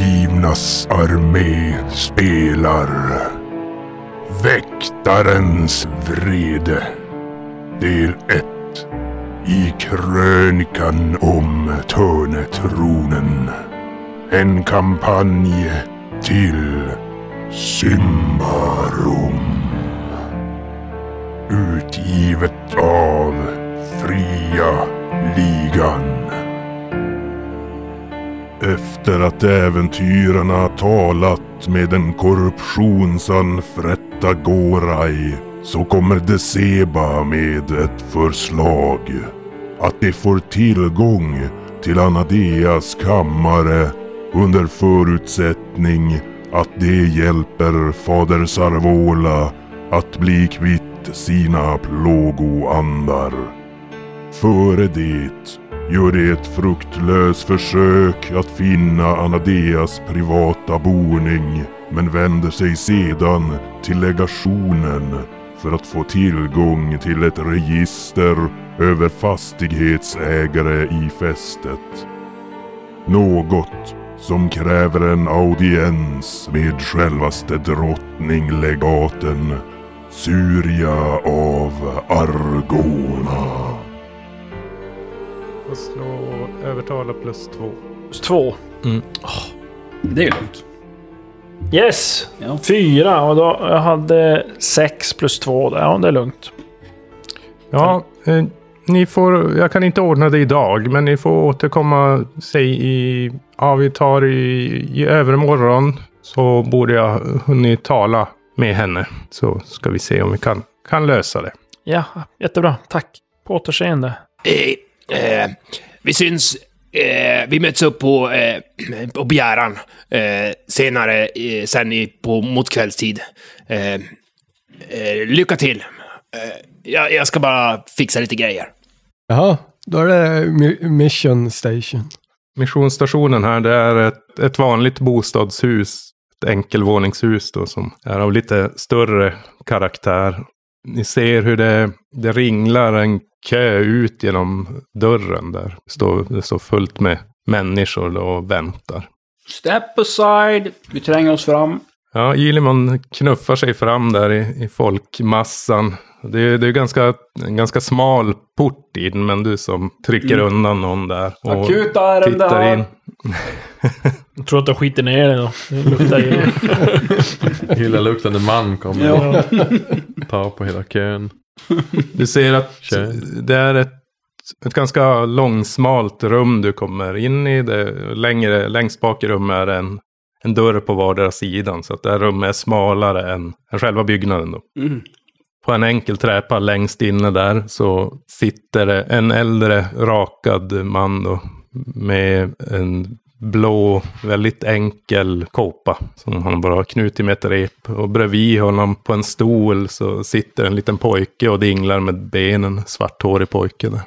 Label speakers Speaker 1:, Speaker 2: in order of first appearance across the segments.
Speaker 1: Lejonernas armé spelar Väktarens vrede Del 1 I krönikan om Törnetronen En kampanj till Symbarum Utgivet av Fria Ligan efter att äventyrarna talat med den korruptionsanfrätta Gorai så kommer Deseba med ett förslag. Att de får tillgång till Anadeas kammare under förutsättning att de hjälper fader Sarvola att bli kvitt sina plågoandar. Före det gör det ett fruktlöst försök att finna Anadeas privata boning men vänder sig sedan till legationen för att få tillgång till ett register över fastighetsägare i fästet. Något som kräver en audiens med självaste drottninglegaten Syria av Argona.
Speaker 2: Och slå övertala plus två.
Speaker 3: Plus Två.
Speaker 4: Det är ju lugnt.
Speaker 3: Yes!
Speaker 4: Ja.
Speaker 3: Fyra. Och då, jag hade sex plus två. där. Ja, det är lugnt.
Speaker 2: Ja, eh, ni får, jag kan inte ordna det idag, men ni får återkomma, säg i, ja vi tar i, i övermorgon, så borde jag hunnit tala med henne. Så ska vi se om vi kan, kan lösa det.
Speaker 3: Ja, jättebra. Tack. På återseende.
Speaker 5: Eh, eh, vi syns. Eh, vi möts upp på, eh, på begäran eh, senare, eh, sen i, på, mot kvällstid. Eh, eh, lycka till! Eh, jag, jag ska bara fixa lite grejer.
Speaker 6: Jaha, då är det mi- Mission Station.
Speaker 2: Missionsstationen här, det är ett, ett vanligt bostadshus. Ett enkelvåningshus då som är av lite större karaktär. Ni ser hur det, det ringlar en kö ut genom dörren där. Det står, det står fullt med människor då och väntar.
Speaker 4: Step aside. Vi tränger oss fram.
Speaker 2: Ja, Ilimon knuffar sig fram där i, i folkmassan. Det är, det är ganska, en ganska smal port in, men du som trycker undan någon där. Och
Speaker 4: Akuta ärende
Speaker 2: tittar
Speaker 4: här.
Speaker 2: in.
Speaker 3: Jag tror att jag skiter ner det då. Det luktar ju.
Speaker 7: Illaluktande man kommer och
Speaker 4: Ja.
Speaker 7: tar på hela kön.
Speaker 2: Du ser att
Speaker 7: Kör.
Speaker 2: det är ett, ett ganska långsmalt rum du kommer in i. Det, längre, längst bak i rummet är det en, en dörr på vardera sidan. Så att det här rummet är smalare än, än själva byggnaden. Då.
Speaker 4: Mm.
Speaker 2: På en enkel träpa längst inne där så sitter det en äldre rakad man då, med en blå, väldigt enkel kåpa som han bara har knutit med ett rep. Och bredvid honom på en stol så sitter en liten pojke och dinglar med benen, svarthårig pojke där.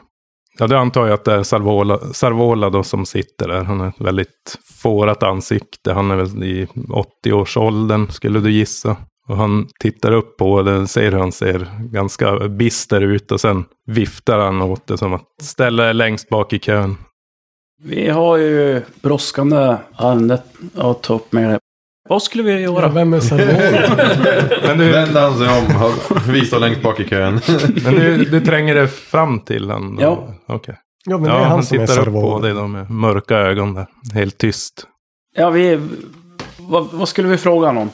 Speaker 2: Ja, det antar jag att det är Sarvola, Sarvola då som sitter där. Han har ett väldigt fårat ansikte. Han är väl i 80-årsåldern skulle du gissa. Och han tittar upp på det, ser hur han ser ganska bister ut och sen viftar han åt det som att ställa er längst bak i kön.
Speaker 4: Vi har ju brådskande ärendet att ta upp med er. Vad skulle vi
Speaker 6: Ja,
Speaker 4: göra?
Speaker 6: vem är Sarvola?
Speaker 2: Men du,
Speaker 7: Vänder han sig om och visar längst bak i kön.
Speaker 2: men du, du tränger dig fram till honom? då?
Speaker 4: Ja.
Speaker 2: Okej.
Speaker 6: Ja, men det
Speaker 2: Ja,
Speaker 6: är han,
Speaker 2: han
Speaker 6: som är
Speaker 2: tittar upp på
Speaker 6: Sarvola.
Speaker 2: dig då med mörka ögon där. Helt tyst.
Speaker 4: Ja, vi... Vad, vad skulle vi fråga honom? om?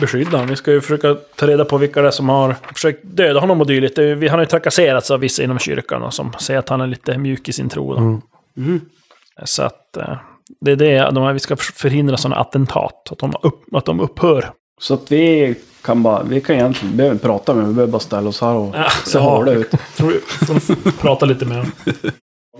Speaker 3: Beskydda honom. Vi ska ju försöka ta reda på vilka det är som har försökt döda honom och dylikt. Det är ju- vi- Han har ju trakasserats av vissa inom kyrkan och som säger att han är lite mjuk i sin tro. Då. Mm.
Speaker 4: Mhm.
Speaker 3: Så att eh, det är det, de här, vi ska förs- förhindra sådana attentat. Att de, upp, att de upphör.
Speaker 4: Så att vi kan bara... Vi kan egentligen... Vi behöver inte prata med Vi behöver bara ställa oss här och
Speaker 3: Ja,
Speaker 4: se
Speaker 3: ja.
Speaker 4: hårda ut.
Speaker 3: Tror vi får prata lite med honom.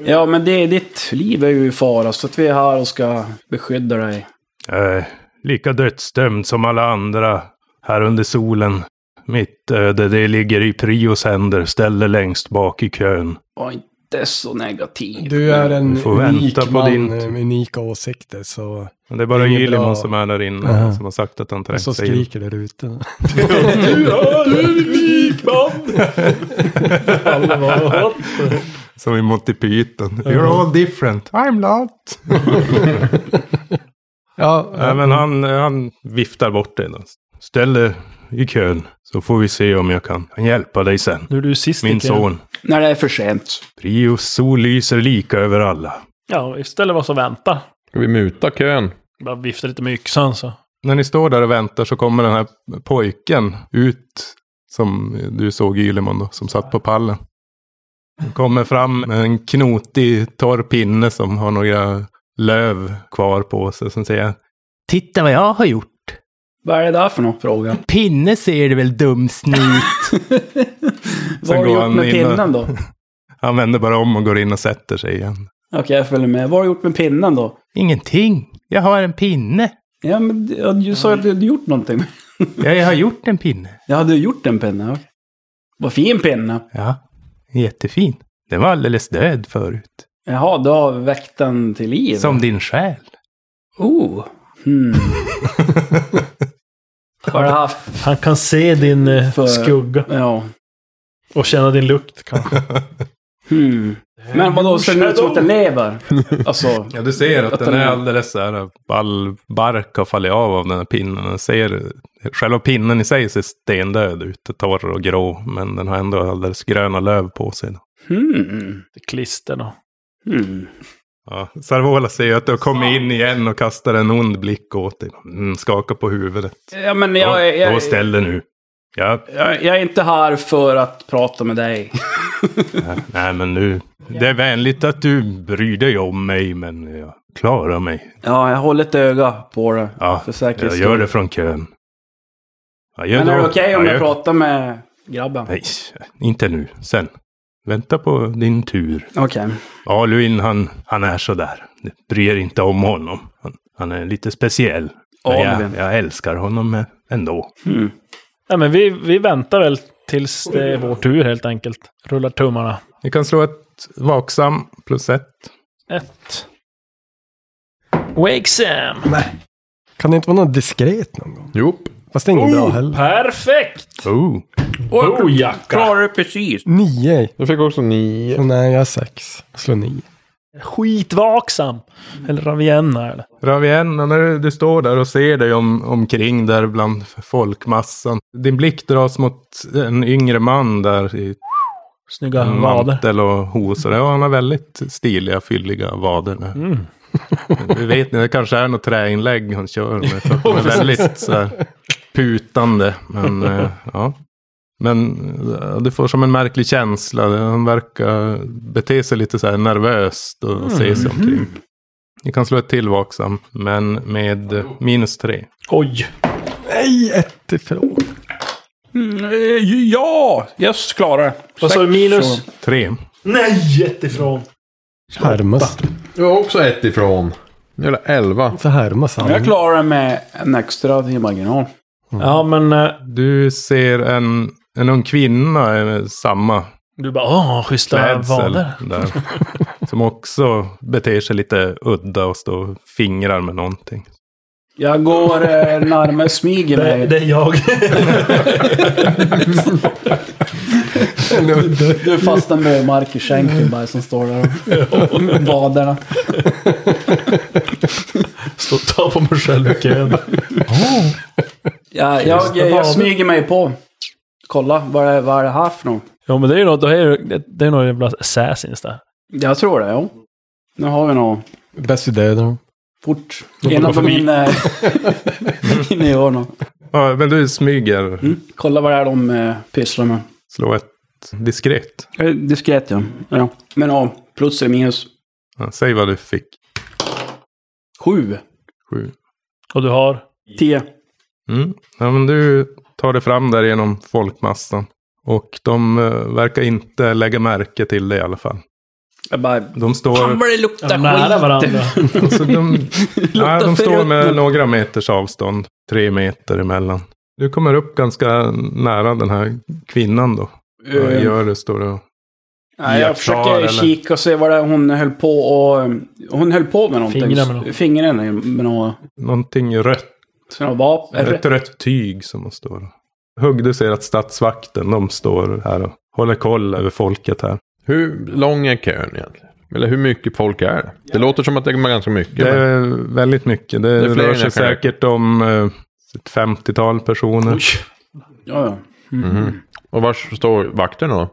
Speaker 4: Ja, men det, ditt liv är ju i fara, så att vi är här och ska beskydda dig.
Speaker 2: Eh, lika dödsdömd som alla andra här under solen. Mitt öde, det ligger i prios händer. Ställ dig längst bak i kön.
Speaker 4: Var inte så negativ.
Speaker 6: Du är en
Speaker 2: Du får vänta
Speaker 6: unik
Speaker 2: på
Speaker 6: man
Speaker 2: din
Speaker 6: eh,
Speaker 2: tur.
Speaker 6: med unika åsikter. Så,
Speaker 2: Men det är bara
Speaker 6: Det är inget bra.
Speaker 2: Ylimon som är där inne
Speaker 6: Aha.
Speaker 2: som har sagt att han
Speaker 6: och så
Speaker 2: trängt sig in.
Speaker 6: skriker där ute.
Speaker 2: Som i Monty Python. You're all different. I'm not.
Speaker 6: Ja,
Speaker 2: Nej, men han, han viftar bort dig. då. Ställ dig i kön så får vi se om jag kan kan hjälpa dig sen.
Speaker 3: Nu är du sist i
Speaker 2: Min
Speaker 3: kön.
Speaker 2: son.
Speaker 4: När det är för sent.
Speaker 2: Prios sol lyser lika över alla.
Speaker 3: Ja, istället för oss att vänta.
Speaker 7: Ska vi muta kön?
Speaker 3: Bara vifta lite med yxan så.
Speaker 2: När ni står där och väntar så kommer den här pojken ut. Som du såg i Ylemon då, som satt på pallen. Han kommer fram med en knotig torr pinne som har några löv kvar på sig. Sen säger han, Titta vad jag har gjort.
Speaker 4: Vad är det där för någon fråga?
Speaker 2: Pinne ser du väl dumsnut.
Speaker 4: Vad har
Speaker 2: går
Speaker 4: du
Speaker 2: han
Speaker 4: gjort med
Speaker 2: in och-
Speaker 4: pinnen då?
Speaker 2: han vänder bara om och går in och sätter sig igen.
Speaker 4: Okej, jag följer med. Vad har du gjort med pinnen då?
Speaker 2: Ingenting. Jag har en pinne.
Speaker 4: Ja, men du- du sa ju att du hade gjort någonting.
Speaker 2: Jag har gjort en pinne.
Speaker 4: Jag hade ju gjort en pinne. okej. Vad fin pinne.
Speaker 2: Ja, jättefin. Den var alldeles död förut.
Speaker 4: Jaha, du har väckt den till liv.
Speaker 2: Som din själ.
Speaker 4: Oh. Hmm. Har du haft...
Speaker 3: Han kan se din eh,
Speaker 4: För-
Speaker 3: skugga
Speaker 4: Ja.
Speaker 3: och känna din lukt kanske.
Speaker 4: Hmm. Men vadå, ser den ut som att den lever? Alltså,
Speaker 2: Ja, du ser att
Speaker 4: Att
Speaker 2: den
Speaker 4: den
Speaker 2: är
Speaker 4: är-
Speaker 2: alldeles så här, all bark har fallit av av den här pinnen. Den ser, själva pinnen i sig ser stendöd ut, torr och grå, men den har ändå alldeles gröna löv på sig.
Speaker 4: hmm.
Speaker 3: Det klister och...
Speaker 4: hmm.
Speaker 2: Ja, Sarvola ser ju att du har kommit in igen och kastar en ond blick åt dig. Mm, skakar på huvudet.
Speaker 4: Ja, men jag, jag,
Speaker 2: Då
Speaker 4: jag,
Speaker 2: ställ dig nu. Ja,
Speaker 4: jag, jag är inte här för att prata med dig.
Speaker 2: nej men nu. Det är vänligt att du bryr dig om mig, men jag klarar mig.
Speaker 4: Ja, jag håller ett öga på det.
Speaker 2: Ja,
Speaker 4: för säkerhets
Speaker 2: jag gör det från kön. Ja, gör
Speaker 4: Men är
Speaker 2: då.
Speaker 4: det okej om
Speaker 2: Ja,
Speaker 4: jag
Speaker 2: gör-
Speaker 4: pratar med grabben?
Speaker 2: Nej, inte nu. Sen. Vänta på din tur.
Speaker 4: Okej.
Speaker 2: Aluin, han, han är sådär. Bryr inte om honom. Han, han är lite speciell. Men jag,
Speaker 4: Aluin.
Speaker 2: jag älskar honom ändå.
Speaker 4: Hmm.
Speaker 3: Nej, men vi, vi väntar väl tills det är vår tur helt enkelt. Rullar tummarna.
Speaker 2: Ni kan slå ett vaksam plus ett.
Speaker 3: Ett. Wake Sam!
Speaker 6: Kan det inte vara något diskret någon gång?
Speaker 7: Jop.
Speaker 6: Fast det är inget bra heller.
Speaker 3: Perfekt!
Speaker 2: Oh.
Speaker 3: Oh, jacka!
Speaker 4: Klarar du precis?
Speaker 6: Nio.
Speaker 7: Jag fick också nio.
Speaker 6: Så nej, jag har sex. Jag slår nio.
Speaker 3: Skitvaksam! Eller Ravienna eller?
Speaker 2: Ravienna, när du, du står där och ser dig om, omkring där bland folkmassan. Din blick dras mot en yngre man där i
Speaker 3: Snygga vader.
Speaker 2: Mm. mantel och hosor. Ja, han har väldigt stiliga, fylliga vader. nu.
Speaker 3: Mm.
Speaker 2: Vi vet inte, det kanske är något träinlägg han kör med. För att de är väldigt så här, putande. Men, eh, ja. men eh, du får som en märklig känsla. Han verkar bete sig lite så här nervöst och se sig omkring. Ni kan slå ett till vaksam, men med eh, minus tre.
Speaker 3: Oj!
Speaker 6: Nej, ett ifrån.
Speaker 3: Mm, eh,
Speaker 4: ja! Jag klarar det.
Speaker 3: Vad sa du? Minus?
Speaker 2: Tre.
Speaker 3: Nej! Jättifrån!
Speaker 6: Härmas.
Speaker 7: Jag var också ett ifrån. Nu är det elva.
Speaker 6: Så härmas han.
Speaker 4: Jag klarar det med en extra i marginal.
Speaker 3: Ja, men... eh,
Speaker 2: Du ser en, en ung kvinna eh, samma
Speaker 3: Du bara åh, schyssta
Speaker 2: klädsel.
Speaker 3: vader.
Speaker 2: Där, som också beter sig lite udda och står och fingrar med någonting.
Speaker 4: Jag går eh, närmare, smyger mig.
Speaker 3: är jag.
Speaker 4: Du är fast en våmark i skänken bara som står där och med badarna.
Speaker 3: Står och tar på mig själv i kön.
Speaker 4: Jag, jag, jag, jag smyger mig på. Kolla, vad är, vad är det här för något?
Speaker 3: Ja, men det är ju något, det är, ju- det är något jävla assassins där.
Speaker 4: Jag tror det, ja. Nu har vi något.
Speaker 6: Bäst vi dödar dem.
Speaker 4: Fort. eh, Innan de hinner hinner göra något.
Speaker 2: Ja, men du smyger.
Speaker 4: Mm. Kolla vad det är de eh, pysslar med.
Speaker 2: Slå ett diskret.
Speaker 4: Eh, Diskret, ja. ja. Men ja, plus eller minus.
Speaker 2: Ja, säg vad du fick.
Speaker 4: Sju.
Speaker 2: Sju.
Speaker 3: Och du har?
Speaker 4: Tio.
Speaker 2: Mm. Ja, men du tar dig fram där genom folkmassan. Och de eh, verkar inte lägga märke till dig i alla fall.
Speaker 4: Jag bara...
Speaker 2: De står...
Speaker 4: vad det luktar
Speaker 3: Nära varandra.
Speaker 2: Alltså, de, nej, de står med
Speaker 4: förrutten.
Speaker 2: några meters avstånd. Tre meter emellan. Du kommer upp ganska nära den här kvinnan då. Vad gör du? Står du och...
Speaker 4: Nej, Eh, jag
Speaker 2: Jaktar,
Speaker 4: försöker
Speaker 2: eller?
Speaker 4: kika och se vad det är hon höll på och... Hon höll på med någonting.
Speaker 3: Fingrar med något.
Speaker 4: Fingrarna med något.
Speaker 2: Någonting rött.
Speaker 4: Sina vapen.
Speaker 2: Ett rött tyg som de står. Hugg, du ser att statsvakten, de står här och håller koll över folket här.
Speaker 7: Hur lång är kön egentligen? Eller hur mycket folk är det? Det låter som att det är ganska mycket.
Speaker 2: Det
Speaker 7: men-
Speaker 2: är väldigt mycket. Det,
Speaker 7: är fler
Speaker 2: rör
Speaker 7: än
Speaker 2: sig
Speaker 7: jag kan räkna.
Speaker 2: säkert om eh, ett 50-tal personer.
Speaker 4: Ja, Mm. ja.
Speaker 2: Mhm.
Speaker 7: Och var står vakterna då?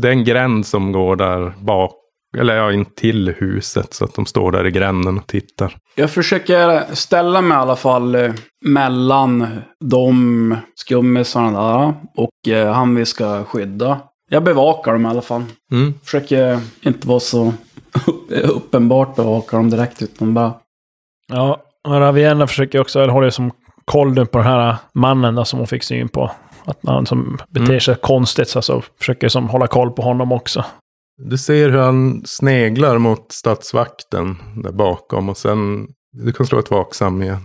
Speaker 2: Det är en gränd som går där bak. Eller ja, in till huset. Så att de står där i gränden och tittar.
Speaker 4: Jag försöker ställa mig i alla fall eh, mellan de skummisarna där och eh, han vi ska skydda. Jag bevakar dem i alla fall.
Speaker 2: Mm.
Speaker 4: Försöker inte vara så uppenbart bevaka dem direkt utan bara...
Speaker 3: Ja, och Ravienna försöker ju också, eller håller ju som koll nu på den här mannen då, som hon fick syn på. Att han som beter
Speaker 2: Mm.
Speaker 3: sig konstigt, så alltså, försöker som hålla koll på honom också.
Speaker 2: Du ser hur han sneglar mot stadsvakten där bakom. Och sen, du kan slå ett vaksam igen.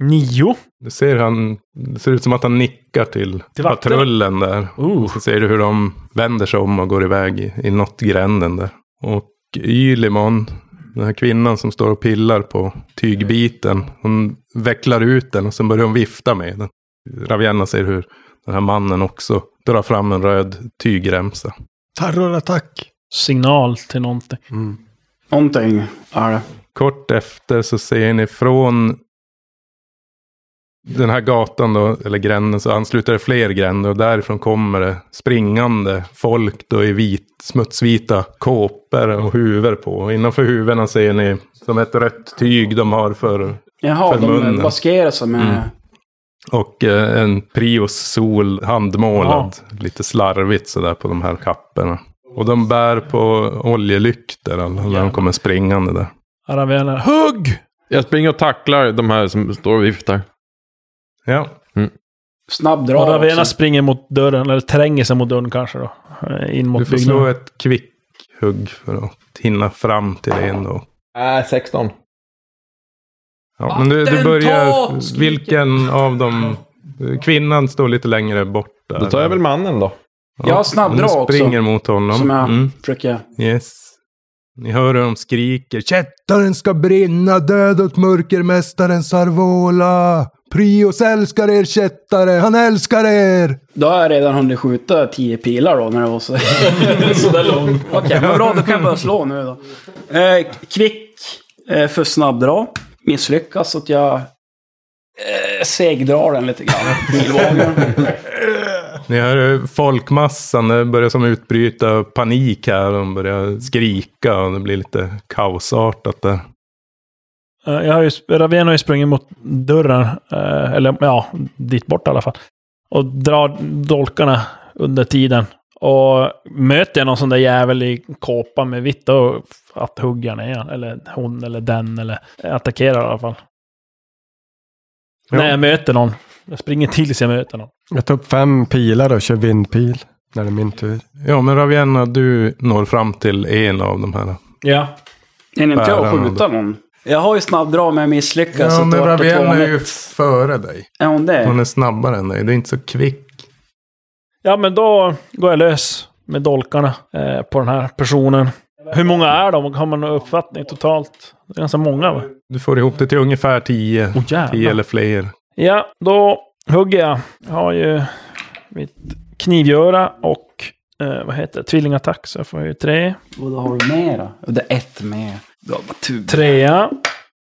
Speaker 3: Nio?
Speaker 2: Du ser han, det ser ut som att han nickar till,
Speaker 3: Till vakterna?
Speaker 2: patrullen där.
Speaker 3: Uh.
Speaker 2: Så ser du hur de vänder sig om och går iväg i, i något gränden där. Och Ylimon, den här kvinnan som står och pillar på tygbiten, hon vecklar ut den och sen börjar hon vifta med den. Ravienna ser hur den här mannen också drar fram en röd tygremsa.
Speaker 6: Terrorattack.
Speaker 3: Signal till någonting.
Speaker 4: Någonting är det.
Speaker 2: Kort efter så ser ni från den här gatan då, eller gränden, så ansluter det fler gränder och därifrån kommer det springande folk då i vit, smutsvita kåpor och huvor på. Och innanför huvudena ser ni som ett rött tyg de har för
Speaker 4: Jaha,
Speaker 2: För munnen.
Speaker 4: de maskerar sig med...
Speaker 2: Mm. och eh, en Prius sol handmålad lite slarvigt sådär på de här kapporna. Och de bär på oljelyktor alla när de kommer springande där.
Speaker 3: Ravienna, hugg!
Speaker 7: Jag springer och tacklar de här som står och viftar.
Speaker 2: Ja,
Speaker 4: Snabb
Speaker 3: Och
Speaker 4: drag
Speaker 3: Ravienna
Speaker 4: också.
Speaker 3: springer mot dörren, eller tränger sig mot dörren kanske då. Eh, In
Speaker 2: du
Speaker 3: mot
Speaker 2: får
Speaker 7: liksom-
Speaker 2: slå
Speaker 3: byggnaden.
Speaker 2: ett kvickhugg för att hinna fram till det ändå.
Speaker 7: Äh, 16.
Speaker 2: Ja, men du, du börjar... Vilken av dem... Kvinnan står lite längre bort där.
Speaker 7: Då tar jag väl mannen då.
Speaker 4: Jag har snabbdra
Speaker 2: Men Du springer
Speaker 4: också.
Speaker 2: mot honom.
Speaker 4: Som jag
Speaker 2: Mm,
Speaker 4: försöker...
Speaker 2: yes. Ni hör hur de skriker. Kättaren ska brinna, död åt mörkermästaren Sarvola. Prios älskar er kättare, han älskar er.
Speaker 4: Då har jag redan hunnit skjuta tio pilar då när det var så... Sådär långt. Okej, men bra. Då kan jag börja slå nu då. Eh, kvick eh, för snabbdra. Misslyckas så att jag eh, segdrar den lite grann. Bilvågen.
Speaker 2: Ni hör hur folkmassan det börjar som utbryta panik här. De börjar skrika och det blir lite kaosartat där.
Speaker 3: Eh, Jag har ju, Ravienna har ju sprungit mot dörren, eh, eller ja, dit bort i alla fall. Och drar dolkarna under tiden. Och möter jag någon sån där jävel i kåpa med vitt, då f- att hugga ner han, Eller hon eller den, eller attackerar i alla fall.
Speaker 2: Ja.
Speaker 3: När jag möter någon. Jag springer tills jag möter någon.
Speaker 6: Jag tar upp fem pilar och kör vindpil. När det är min tur.
Speaker 2: Ja, men Ravienna, du når fram till en av de här.
Speaker 3: Ja.
Speaker 4: Hinner inte jag
Speaker 2: Bärande.
Speaker 4: skjuta någon? Jag har ju snabbdra men jag misslyckas. så
Speaker 2: Ja,
Speaker 4: att
Speaker 2: men
Speaker 4: det vart ett
Speaker 2: Ravienna är ju
Speaker 4: vanligt-
Speaker 2: före dig.
Speaker 4: Är hon det?
Speaker 2: Hon är snabbare än dig. Du är inte så kvick.
Speaker 3: Ja, men då går jag lös med dolkarna eh, på den här personen. Hur många är de? Har man någon uppfattning totalt? Det är ganska många, va?
Speaker 2: Du får ihop det till ungefär 10.
Speaker 3: Åh, jävlar.
Speaker 2: 10 eller fler.
Speaker 3: Ja, då hugger jag. Jag har ju mitt knivgöra och eh, vad heter det? Tvillingattack, så jag får ju tre.
Speaker 4: Och då har du med då? Och Det är ett med. Du har bara tur.
Speaker 3: Trea.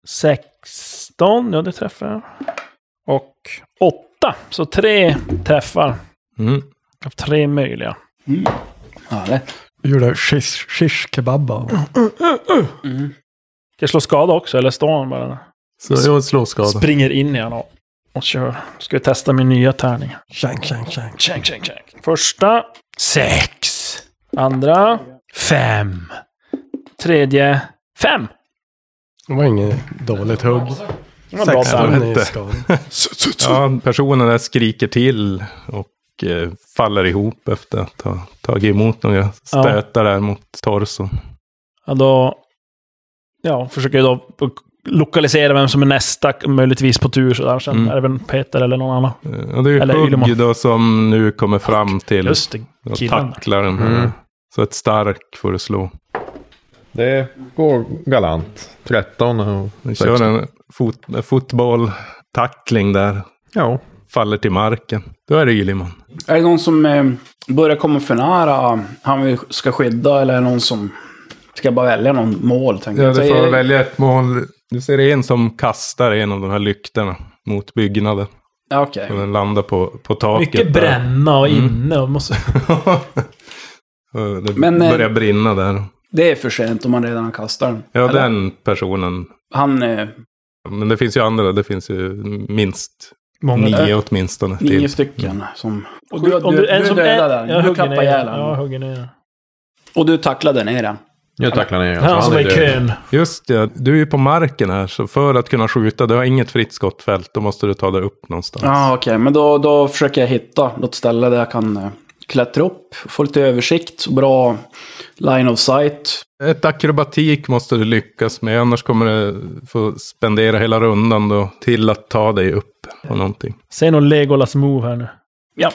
Speaker 3: Sexton, ja det träffar jag. Och åtta, så tre träffar.
Speaker 2: Mm.
Speaker 3: Av tre möjliga.
Speaker 4: Härligt.
Speaker 6: Jag gjorde shish, shish kebab av.
Speaker 4: Mm.
Speaker 3: Ska jag slå skada också, eller står han bara där?
Speaker 2: Så jag slår skada.
Speaker 3: Springer in i honom och kör. Ska vi testa min nya tärning.
Speaker 6: Shank, shank, shank.
Speaker 3: Tjänk, tjänk, tjänk. Första. Sex. Andra. Fem. Tredje. Fem.
Speaker 6: Det var inget dåligt hugg.
Speaker 3: Det var bra tärning.
Speaker 6: i
Speaker 2: hette.
Speaker 6: skada.
Speaker 2: Ja, personen där skriker till och eh, faller ihop efter att ha tagit emot några stötar där mot torson.
Speaker 3: Ja, då ja, försöker jag då lokalisera vem som är nästa, möjligtvis på tur sådär. Sen
Speaker 2: Mm.
Speaker 3: är det väl Peter eller någon annan.
Speaker 2: Eh, Och det är
Speaker 3: Eller Ylimon.
Speaker 2: Hugg då som nu kommer fram till
Speaker 3: Just det,
Speaker 2: och
Speaker 3: killen.
Speaker 2: tacklar den här.
Speaker 7: Mm.
Speaker 2: Så ett stark får du slå.
Speaker 7: Det går galant. 13 och
Speaker 2: Vi
Speaker 7: 16.
Speaker 2: kör en fot, fotbolltackling där.
Speaker 7: Ja.
Speaker 2: faller till marken. Då är det Yliman.
Speaker 4: Är det någon som eh, börjar komma för nära han vi ska skydda eller är det någon som... Ska jag bara välja någon mål? Tänkte
Speaker 2: Ja,
Speaker 4: jag.
Speaker 2: du
Speaker 4: Så
Speaker 2: får
Speaker 4: jag-
Speaker 2: välja ett mål. Du ser en som kastar en av de här lyktorna mot byggnaden.
Speaker 4: Ja, okej.
Speaker 2: Och den landar på, på taket.
Speaker 3: Mycket
Speaker 2: där.
Speaker 3: bränna och inne. Och måste...
Speaker 2: Och det
Speaker 4: Men, eh,
Speaker 2: börjar brinna där.
Speaker 4: Det är för sent om man redan har kastat den.
Speaker 2: Ja,
Speaker 4: Eller?
Speaker 2: den personen.
Speaker 4: Han... Eh,
Speaker 2: Men det finns ju andra. Det finns ju minst
Speaker 6: Många
Speaker 2: nio
Speaker 6: där.
Speaker 2: åtminstone.
Speaker 4: nio
Speaker 2: till.
Speaker 4: stycken som...
Speaker 3: Och du, om du, en som
Speaker 4: dödar
Speaker 3: en-
Speaker 4: den.
Speaker 3: Ja,
Speaker 4: du
Speaker 3: hugger
Speaker 4: klappar
Speaker 3: ner.
Speaker 4: ihjäl
Speaker 3: Ja,
Speaker 4: den.
Speaker 3: hugger ner.
Speaker 4: Och du tacklade ner den.
Speaker 7: Jag tacklar ner
Speaker 3: Han som är i kön.
Speaker 2: Just det, du är ju på marken här. Så för att kunna skjuta, du har inget fritt skottfält. Då måste du ta dig upp någonstans.
Speaker 4: Ja, okej. Men då, då försöker jag hitta något ställe där jag kan eh, klättra upp, få lite översikt, bra line of sight.
Speaker 2: Ett akrobatik måste du lyckas med, annars kommer du få spendera hela rundan då till att ta dig upp på någonting.
Speaker 3: Säg någon Legolas move här nu.
Speaker 4: Ja.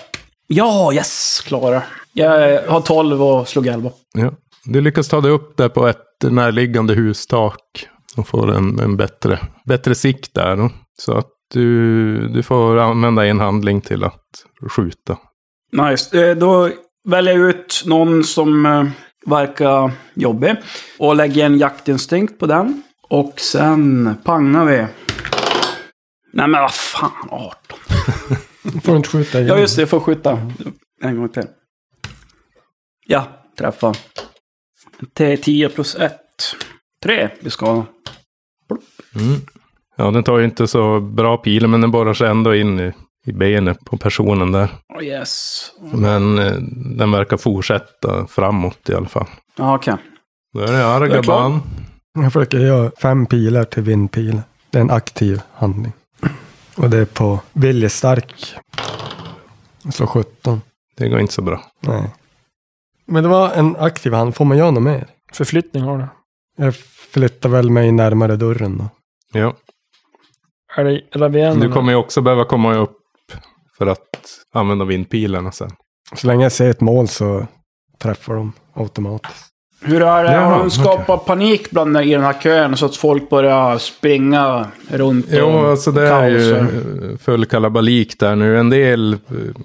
Speaker 4: Ja, yes! Klara. Jag eh, har 12 och slog 11.
Speaker 2: Ja. Du lyckas ta dig upp där på ett närliggande hustak och får en, en bättre, bättre sikt där. Då. Så att du, du får använda en handling till att skjuta.
Speaker 4: Nice. Eh, Då väljer jag ut någon som eh, verkar jobbig och lägger en jaktinstinkt på den. Och sen pangar vi. Nej men vad fan, 18.
Speaker 6: Får du inte skjuta igen.
Speaker 4: Ja just det, jag får skjuta. En gång till. Ja, träffa. T10 plus 1. 3 vi ska.
Speaker 2: Mm. Ja, den tar ju inte så bra pilen, men den borrar sig ändå in i, i benet på personen där.
Speaker 4: Oh, yes.
Speaker 2: Men eh, den verkar fortsätta framåt i alla fall.
Speaker 4: Ja, okej.
Speaker 2: Då är det
Speaker 4: Jag är klar.
Speaker 2: Argaban.
Speaker 6: Jag försöker göra fem pilar till vindpil. Det är en aktiv handling. Och det är på viljestark. Jag slår 17.
Speaker 2: Det går inte så bra.
Speaker 6: Nej. Men det var en aktiv hand. Får man göra något mer?
Speaker 3: Förflyttning har du.
Speaker 6: Jag flyttar väl mig närmare dörren då.
Speaker 2: Ja.
Speaker 3: Är det Ravien?
Speaker 2: Du kommer ju också behöva komma upp för att använda vindpilarna sen.
Speaker 6: Så länge jag ser ett mål så träffar de automatiskt.
Speaker 4: Hur är det?
Speaker 6: Jaha,
Speaker 4: Har de skapat panik bland i den här kön så att folk börjar springa runt?
Speaker 2: Jo,
Speaker 4: och
Speaker 2: alltså det är ju
Speaker 4: kaosar?
Speaker 2: eh, full kalabalik där nu. En del eh,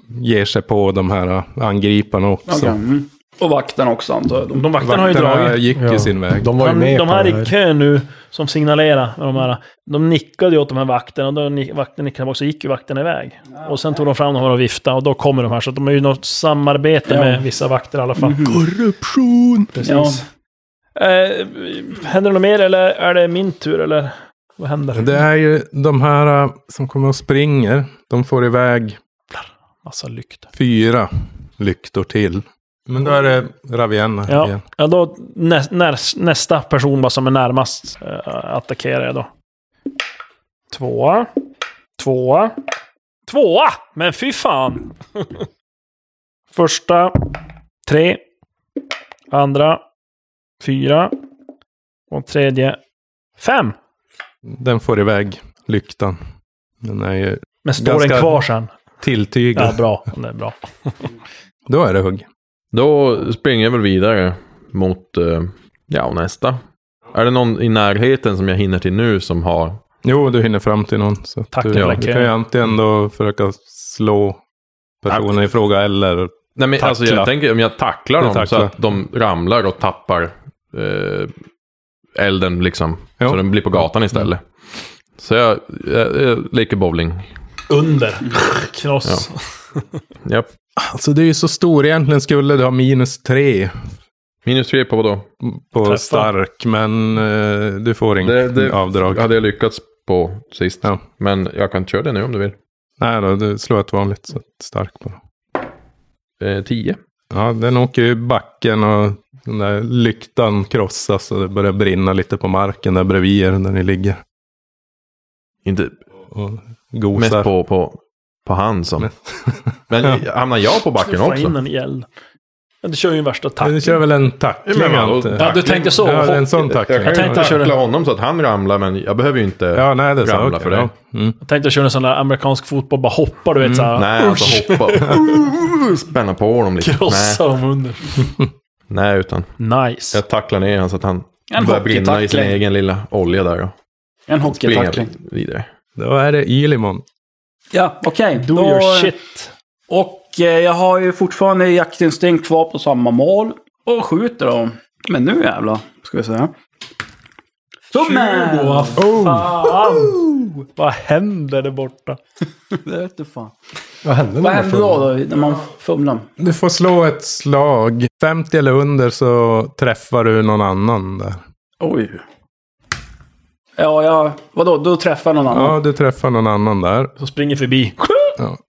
Speaker 2: ger sig på de här eh, angriparna också.
Speaker 4: Okej, mm. Och vakten också antar jag. De,
Speaker 3: Alltså, De vakterna har ju
Speaker 2: Vakterna
Speaker 3: dragit.
Speaker 2: gick ju
Speaker 6: Ja.
Speaker 2: sin väg.
Speaker 6: De var ju
Speaker 3: Han,
Speaker 6: med
Speaker 3: de
Speaker 6: på
Speaker 3: här
Speaker 6: det
Speaker 3: i
Speaker 6: här.
Speaker 3: kö nu, som signalerade med de här. De nickade ju åt de här vakterna och då ni, vakten nickade tillbaka så gick ju vakterna iväg. Och sen tog de fram dem och viftade och då kommer de här. Så att de har ju något samarbete
Speaker 4: Ja.
Speaker 3: med vissa vakter i alla fall.
Speaker 6: Korruption!
Speaker 3: Precis. Eh, händer det något mer eller är det min tur eller? Vad händer?
Speaker 2: Det är ju de här eh, som kommer och springer. De får iväg
Speaker 3: Massa lyktor.
Speaker 2: fyra lyktor till. Men då är det Ravienna
Speaker 3: Ja.
Speaker 2: igen.
Speaker 3: Ja, då nä, när, nästa person bara som är närmast eh, attackerar jag då. Tvåa. Tvåa. Tvåa! Men fy fan! Första. Tre. Andra. Fyra. Och tredje. Fem!
Speaker 2: Den får iväg lyktan. Den är ju
Speaker 3: Men står
Speaker 2: Ganska-
Speaker 3: den kvar sen?
Speaker 2: tilltygad.
Speaker 3: Ja, bra. Det är bra.
Speaker 2: Då är det hugg.
Speaker 7: Då springer jag väl vidare mot, eh, ja, nästa. Är det någon i närheten som jag hinner till nu som har...
Speaker 2: Jo, du hinner fram till någon. Så att
Speaker 3: Tack,
Speaker 2: du,
Speaker 3: jag
Speaker 2: ja,
Speaker 3: läcker.
Speaker 2: du kan ju antingen då försöka slå personen i fråga eller...
Speaker 7: Nej, men alltså
Speaker 2: Tackla.
Speaker 7: jag tänker om jag tacklar
Speaker 2: Du
Speaker 7: dem så
Speaker 2: tacklar.
Speaker 7: att de ramlar och tappar eh, elden liksom.
Speaker 2: Ja.
Speaker 7: Så den blir på gatan istället. Så jag, jag, jag leker bowling.
Speaker 3: Under. Kross.
Speaker 7: Japp.
Speaker 2: Alltså det är ju så stor. Egentligen skulle du ha minus tre
Speaker 7: Minus tre på vadå?
Speaker 2: på
Speaker 3: Träffa.
Speaker 2: stark, men eh, du får
Speaker 7: Det-
Speaker 2: inget
Speaker 7: det-
Speaker 2: avdrag.
Speaker 7: Hade jag lyckats på sist.
Speaker 2: Ja.
Speaker 7: Men jag kan köra det nu om du vill.
Speaker 2: Nej då, du slår ett vanligt så att stark bara.
Speaker 7: Eh, tio.
Speaker 2: Ja, den åker ju i backen och den där lyktan krossas och det börjar brinna lite på marken där bredvid er där ni ligger.
Speaker 7: Inte
Speaker 2: Och
Speaker 7: mest
Speaker 2: gosar.
Speaker 7: på, på, på hand som.
Speaker 2: Ja.
Speaker 7: Men hamnar jag på backen
Speaker 3: Få in
Speaker 7: också?
Speaker 3: den i eld. Ja, Du kör ju en värsta
Speaker 2: Du
Speaker 3: tackling.
Speaker 2: kör väl en
Speaker 7: Ja,
Speaker 2: tackling
Speaker 7: men, och-
Speaker 2: antar
Speaker 3: Ja,
Speaker 2: jag?
Speaker 3: du tänkte så.
Speaker 2: Ja, det är en sån tackling.
Speaker 7: Jag kan ju
Speaker 3: tänkte jag
Speaker 7: tackla
Speaker 3: körde-
Speaker 7: honom så att han ramlar, men jag behöver ju inte...
Speaker 2: Ja, nej det är så.
Speaker 7: Ramla
Speaker 2: Okej,
Speaker 7: för dig.
Speaker 2: Ja. Mm.
Speaker 3: Jag tänkte köra en sån där amerikansk fotboll, bara hoppar du vet såhär.
Speaker 7: Nej, alltså hoppa. Spänna på honom lite. Nej,
Speaker 3: Krossa dem under.
Speaker 7: nej, utan
Speaker 3: Nice.
Speaker 7: jag tacklar ner honom så att han
Speaker 4: En
Speaker 7: börjar brinna i sin
Speaker 4: hockeytackling.
Speaker 7: egen lilla olja där.
Speaker 4: En
Speaker 7: Och springer
Speaker 4: hockeytackling.
Speaker 7: vidare.
Speaker 2: Då är det Ylimon.
Speaker 4: Ja, okej.
Speaker 3: Do
Speaker 4: Då-
Speaker 3: your shit.
Speaker 4: Och eh, jag har ju fortfarande jaktinstinkt kvar på samma mål. Och skjuter då. Men nu jävlar, ska vi säga. Tummen!
Speaker 3: Vad fan! Vad händer där borta?
Speaker 4: Det vete fan.
Speaker 6: Vad hände
Speaker 4: Vad
Speaker 6: när man
Speaker 4: händer
Speaker 6: föll?
Speaker 4: då, då när man fumlar?
Speaker 2: Du får slå ett slag. 50 eller under så träffar du någon annan där.
Speaker 4: Oj. Ja, jag... Vadå, då träffar jag någon annan?
Speaker 2: Ja, du träffar någon annan där.
Speaker 3: Så springer förbi.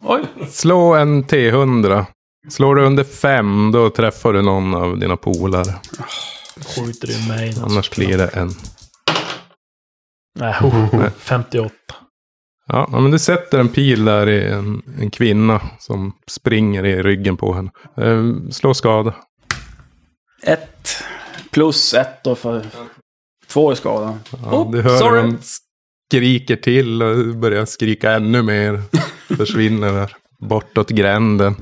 Speaker 4: Oj.
Speaker 2: Slå en T100. Slår du under 5 då träffar du någon av dina polare.
Speaker 3: Skjuter i mig.
Speaker 2: Annars blir det en.
Speaker 3: Nej, oh, 58.
Speaker 2: Ja, ja, men du sätter en pil där i en, en kvinna som springer i ryggen på henne. Eh, slå skada.
Speaker 4: Ett. Plus ett då för... Två i skada.
Speaker 2: Ja, du hör hur de skriker till och börjar skrika ännu mer. Försvinner där. Bortåt gränden.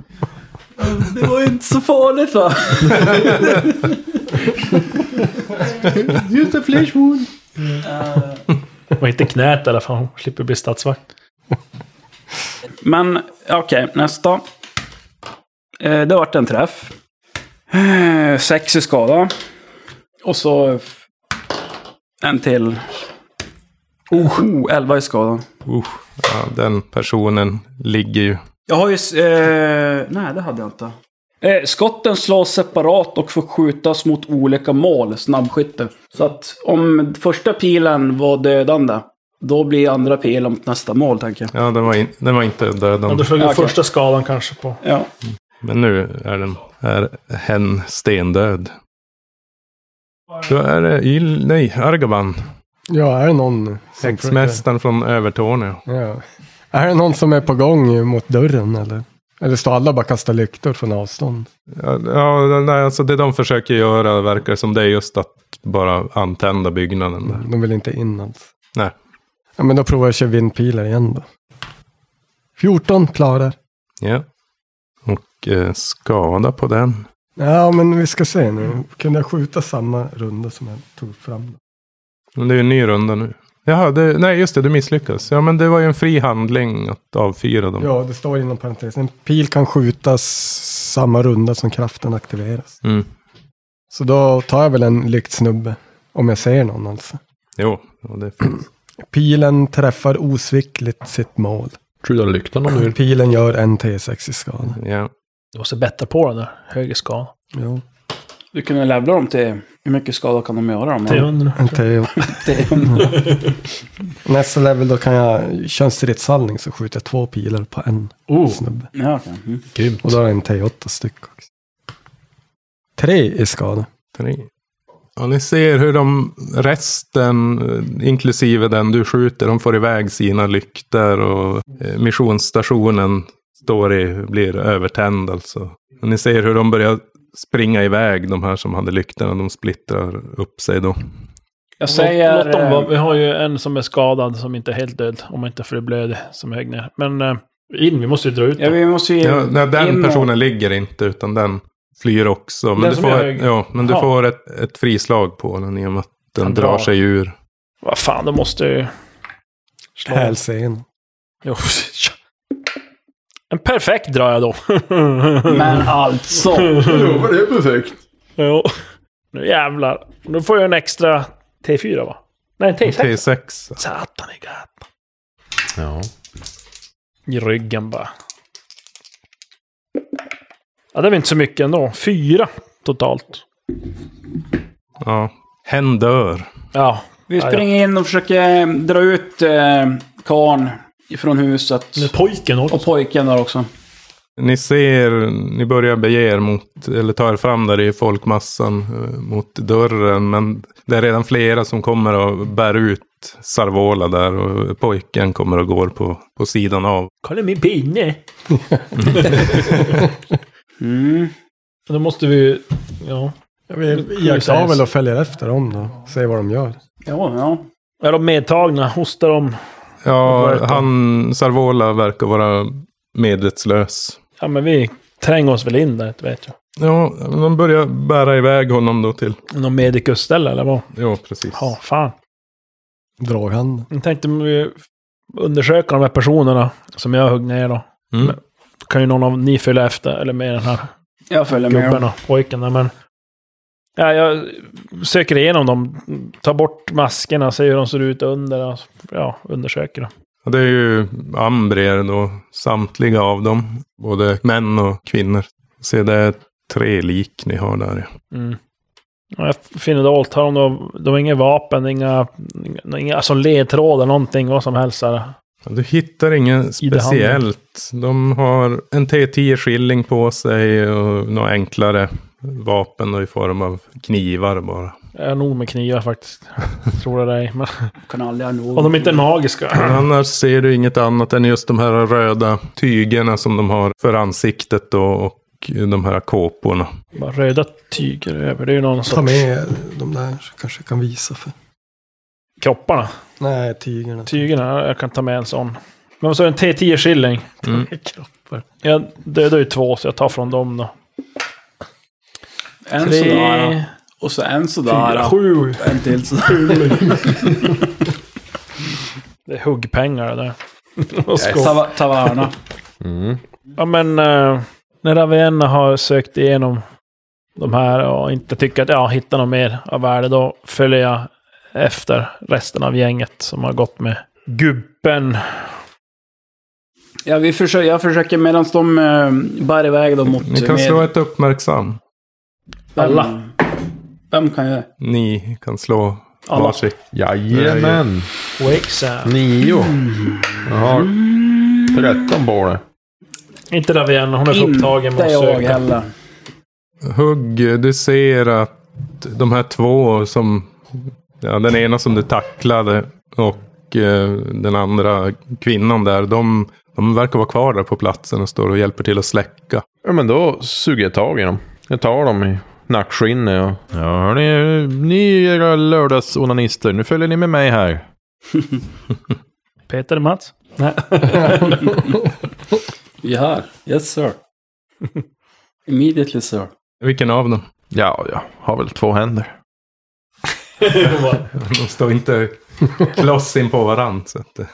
Speaker 4: Det var ju inte så farligt va? Just a flesh wound.
Speaker 3: Och inte knät i alla fall. Hon slipper bli statsvakt.
Speaker 4: Men okej, nästa. Eh, det vart en träff. Eh, sex i skada. Och så f- en till. Oh, oh, elva i skada.
Speaker 2: Usch, ja, den personen ligger ju.
Speaker 4: Jag har ju... s- Eh, nej, det hade jag inte. Eh, skotten slås separat och får skjutas mot olika mål, snabbskytte. Så att om första pilen var dödande, då blir andra pilen mot nästa mål, tänker jag.
Speaker 2: Ja, den var, in, den var inte
Speaker 3: Men
Speaker 2: dödande.
Speaker 3: du slog
Speaker 4: Okej.
Speaker 3: första skadan kanske på...
Speaker 4: Ja.
Speaker 2: Men nu är den är hen stendöd. Då är det Yl, nej, Argaban.
Speaker 6: Ja, är det någon... som
Speaker 2: Häxmästaren från Övertorneå.
Speaker 6: försöker- Ja. Är det någon som är på gång mot dörren eller? Eller står alla bara och kastar lyktor från avstånd?
Speaker 2: Ja, ja, nej, alltså det de försöker göra verkar som det är just att bara antända byggnaden där.
Speaker 6: De vill inte in alls.
Speaker 2: Nej.
Speaker 6: Ja, men då provar jag att köra vindpilar igen då. 14 klarar.
Speaker 2: Ja. Och eh, skada på den.
Speaker 6: Ja, men vi ska se nu. Kunde jag skjuta samma runda som jag tog fram?
Speaker 2: Mm. Men det är ju en ny runda nu. Jaha, det, nej just det, du misslyckas. Ja, men det var ju en fri handling att avfyra dem.
Speaker 6: Ja, det står inom parentes. En pil kan skjutas samma runda som kraften aktiveras.
Speaker 2: Mm.
Speaker 6: Så då tar jag väl en lyktsnubbe. Om jag ser någon alltså.
Speaker 2: Jo, ja, det finns.
Speaker 6: Pilen träffar osvikligt sitt mål.
Speaker 7: Skydda lyktan om du vill.
Speaker 6: Pilen gör en T6 i skada.
Speaker 2: Ja.
Speaker 3: Du måste bättra på den där. Höger skadan.
Speaker 6: Jo.
Speaker 4: Du kunde levla dem till... Hur mycket skada kan de göra? Om
Speaker 3: 300.
Speaker 6: En T8. Nästa level då kan jag köra en stridshandling så skjuter jag två pilar på en
Speaker 3: Oh,
Speaker 6: snubbe.
Speaker 4: Ja, okej. Mm.
Speaker 6: Och då har jag en T8 styck också. Tre i skada.
Speaker 2: Tre. Ja, ni ser hur de resten, eh, inklusive den du skjuter, de får iväg sina lyktor och eh, missionsstationen står i, blir övertänd alltså. Och ni ser hur de börjar springa iväg, de här som hade lyktorna, de splittrar upp sig då.
Speaker 4: Jag säger...
Speaker 3: Låt, låt dem vara.
Speaker 4: eh,
Speaker 3: Vi har ju en som är skadad som inte är helt död. Om inte för det blöder som högg ner. Men eh, in, vi måste ju dra ut
Speaker 4: ja,
Speaker 3: dem.
Speaker 4: vi måste ju...
Speaker 2: Ja, nej,
Speaker 4: in
Speaker 2: den
Speaker 4: och-
Speaker 2: personen ligger inte, utan den flyr också. Men
Speaker 3: Den
Speaker 2: du
Speaker 3: som
Speaker 2: får,
Speaker 3: är
Speaker 2: ett-
Speaker 3: hög.
Speaker 2: ja, men du
Speaker 3: Ja.
Speaker 2: får ett, ett frislag på den i och med att den
Speaker 3: Han
Speaker 2: drar
Speaker 3: drar.
Speaker 2: sig ur.
Speaker 3: Vad fan, då måste jag ju... Slå.
Speaker 6: Hälsen.
Speaker 3: Jo, En perfekt drar jag då.
Speaker 4: Men alltså!
Speaker 7: Ja, det är perfekt.
Speaker 3: Jo. Nu jävlar. Nu får jag en extra T4 va? Nej, en T6.
Speaker 2: T6.
Speaker 3: Satan i gatan.
Speaker 7: Ja.
Speaker 3: I ryggen bara. Ja, det var inte så mycket ändå. Fyra totalt.
Speaker 2: Ja. Hen dör.
Speaker 3: Ja.
Speaker 4: Vi
Speaker 3: Ja, ja.
Speaker 4: springer in och försöker dra ut eh, karn från huset.
Speaker 3: Nu pojken också.
Speaker 4: Och pojken där också.
Speaker 2: Ni ser, ni börjar bege er mot, eller ta er fram där i folkmassan eh, mot dörren. Men det är redan flera som kommer och bär ut Sarvola där och pojken kommer och går på, på sidan av.
Speaker 3: Kolla min pinne.
Speaker 4: Mm.
Speaker 3: Då måste vi ju... Ja.
Speaker 6: Jag vill iaktta väl och följer efter dem då. Se vad de gör.
Speaker 4: Ja, ja.
Speaker 3: Är de medtagna? Hostar de?
Speaker 2: Ja,
Speaker 3: Vad heter
Speaker 2: han, Sarvola verkar vara medvetslös.
Speaker 3: Ja, men vi tränger oss väl in där, det vet jag.
Speaker 2: Ja, de börjar bära iväg honom då till...
Speaker 3: Någon medicus eller vad?
Speaker 2: Ja, precis.
Speaker 3: Ja, fan.
Speaker 6: Draghanden.
Speaker 3: Jag tänkte om vi undersöka de här personerna som jag högg ner då.
Speaker 2: Mm.
Speaker 3: Kan ju någon av ni följa efter, eller med den här
Speaker 4: Jag följer med.
Speaker 3: gubben och pojken där, men... Ja, jag söker igenom dem, tar bort maskerna, ser hur de ser ut under, och ja, undersöker dem.
Speaker 2: Ja, Det är ju ambrer då, samtliga av dem. Både män och kvinnor. Se, det är tre lik ni har där. ja.
Speaker 3: Mm. Ja, Jag finner dolt, har de, då, de har inga vapen, inga, inga, inga alltså ledtrådar, någonting, vad som helst. så här.
Speaker 2: Ja, Du hittar inget
Speaker 3: I det handen.
Speaker 2: speciellt. De har en T10 skilling på sig och några enklare vapen då, i form av knivar bara.
Speaker 3: Jag är nog med knivar faktiskt. Tror jag det är. Men,
Speaker 4: Kan aldrig ha nog.
Speaker 3: om de inte är magiska.
Speaker 2: Men annars ser du inget annat än just de här röda tygerna som de har för ansiktet då, och de här kåporna.
Speaker 3: Bara röda tyger över. Det är ju någon
Speaker 6: Ta
Speaker 3: sorts...
Speaker 6: med de där så kanske jag kan visa för...
Speaker 3: Kropparna.
Speaker 6: Nej, tigrarna.
Speaker 3: Tygerna. Jag kan ta med en sån. Men så är det en T10 skilling.
Speaker 2: Mm.
Speaker 6: Kroppar.
Speaker 3: Jag dödar ju två så jag tar från dem då.
Speaker 4: En sådär.
Speaker 3: Tre,
Speaker 4: Och så en
Speaker 3: fyra,
Speaker 4: sådär.
Speaker 3: sju.
Speaker 4: En till sådär.
Speaker 3: Det är huggpengar det där. Och skål.
Speaker 4: Tava- Taverna.
Speaker 7: Mm.
Speaker 3: Ja men eh, när Ravenna har sökt igenom de här och inte tycker att jag hittar något mer av värde, då följer jag efter resten av gänget som har gått med gubben.
Speaker 4: Ja, vi försöker, jag försöker medan de eh, bär iväg dem mot...
Speaker 2: Ni kan
Speaker 4: med-
Speaker 2: slå ett uppmärksam.
Speaker 4: Vem-
Speaker 3: alla.
Speaker 4: Vem kan jag...
Speaker 2: Ni kan slå
Speaker 4: Alla.
Speaker 2: varsitt.
Speaker 7: Jajamän!
Speaker 3: Wake Sam.
Speaker 7: Nio. Jag har 13 på det.
Speaker 3: Inte Ravenna, hon är för upptagen med
Speaker 4: Inte
Speaker 3: att
Speaker 4: jag
Speaker 3: söka.
Speaker 4: heller.
Speaker 2: Hugg, du ser att de här två som... Ja, den ena som du tacklade och eh, den andra kvinnan där. De, de verkar vara kvar där på platsen och står och hjälper till att släcka.
Speaker 7: Ja, men då suger jag tag i dem. Jag tar dem i nackskinnet och... Ja, hörni, ni är era lördagsonanister. Nu följer ni med mig här.
Speaker 3: Peter Mats? Nej.
Speaker 4: Vi är här. Yes sir. Immediately sir.
Speaker 2: Vilken av dem?
Speaker 7: Ja, jag har väl två händer.
Speaker 2: De står inte kloss in på varandra. Så att, eh,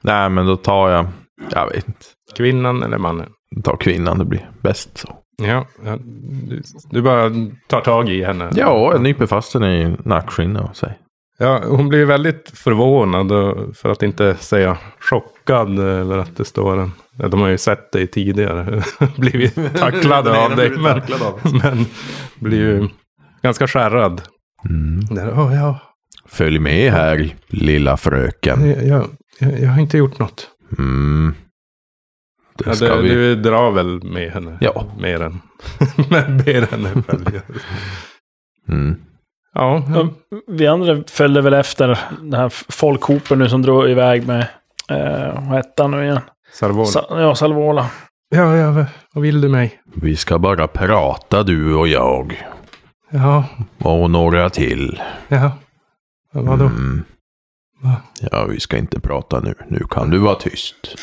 Speaker 7: Nej, men då tar jag... Jag vet inte.
Speaker 2: kvinnan eller mannen?
Speaker 7: Jag tar kvinnan, det blir bäst så.
Speaker 2: Ja, ja, du, du bara tar tag i henne.
Speaker 7: Ja, jag nyper fast henne i nackskinnet och säger...
Speaker 2: Ja, hon blir väldigt förvånad, och- för att inte säga chockad över att det står en... Ja, de har ju sett dig tidigare, blivit tacklade av dig. Men, men blir ju ganska skärrad.
Speaker 7: Mm.
Speaker 2: Där, "Åh, ja,
Speaker 7: Följ med här, lilla fröken.
Speaker 2: jag, jag, jag har inte gjort något.
Speaker 7: Mm.
Speaker 2: Ja,
Speaker 7: Det ska
Speaker 2: du,
Speaker 7: vi...
Speaker 2: du drar väl med henne?
Speaker 7: Ja.
Speaker 2: Mer än... men ber henne följa.
Speaker 7: Mm.
Speaker 2: Ja,
Speaker 3: Vi andra följde väl efter den här folkhopen nu som drog iväg med, eh, vad hette han nu igen?
Speaker 2: Sarvon.
Speaker 3: Sa, ja, Salvola.
Speaker 2: Ja, ja, vad- vad vill du mig?
Speaker 7: Vi ska bara prata du och jag.
Speaker 2: Ja,
Speaker 7: Och några till.
Speaker 2: ja. Ja, Vadå?
Speaker 7: Mm.
Speaker 2: Va?
Speaker 7: Ja, vi ska inte prata nu. Nu kan du vara tyst.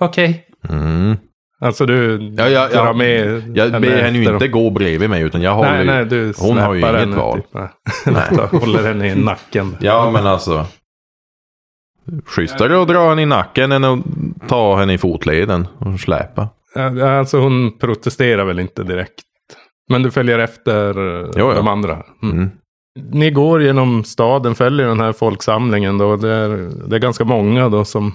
Speaker 2: Okej.
Speaker 7: Mm.
Speaker 2: Alltså du
Speaker 7: Ja, ja, ja.
Speaker 2: drar med
Speaker 7: Jag ber henne ju
Speaker 2: efter
Speaker 7: inte
Speaker 2: dem.
Speaker 7: gå bredvid mig, utan jag håller
Speaker 2: Nej, nej, du
Speaker 7: Hon har ju
Speaker 2: släpar
Speaker 7: inget
Speaker 2: henne
Speaker 7: val.
Speaker 2: typ. Nej. håller henne i nacken.
Speaker 7: Ja, men alltså. Schysstare att dra henne i nacken än att ta henne i fotleden och släpa.
Speaker 2: Ja, Alltså hon protesterar väl inte direkt. Men du följer efter eh,
Speaker 7: Jo, ja.
Speaker 2: de andra. Mm.
Speaker 7: Mm.
Speaker 2: Ni går genom staden, följer den här folksamlingen då. Det är, det är ganska många då som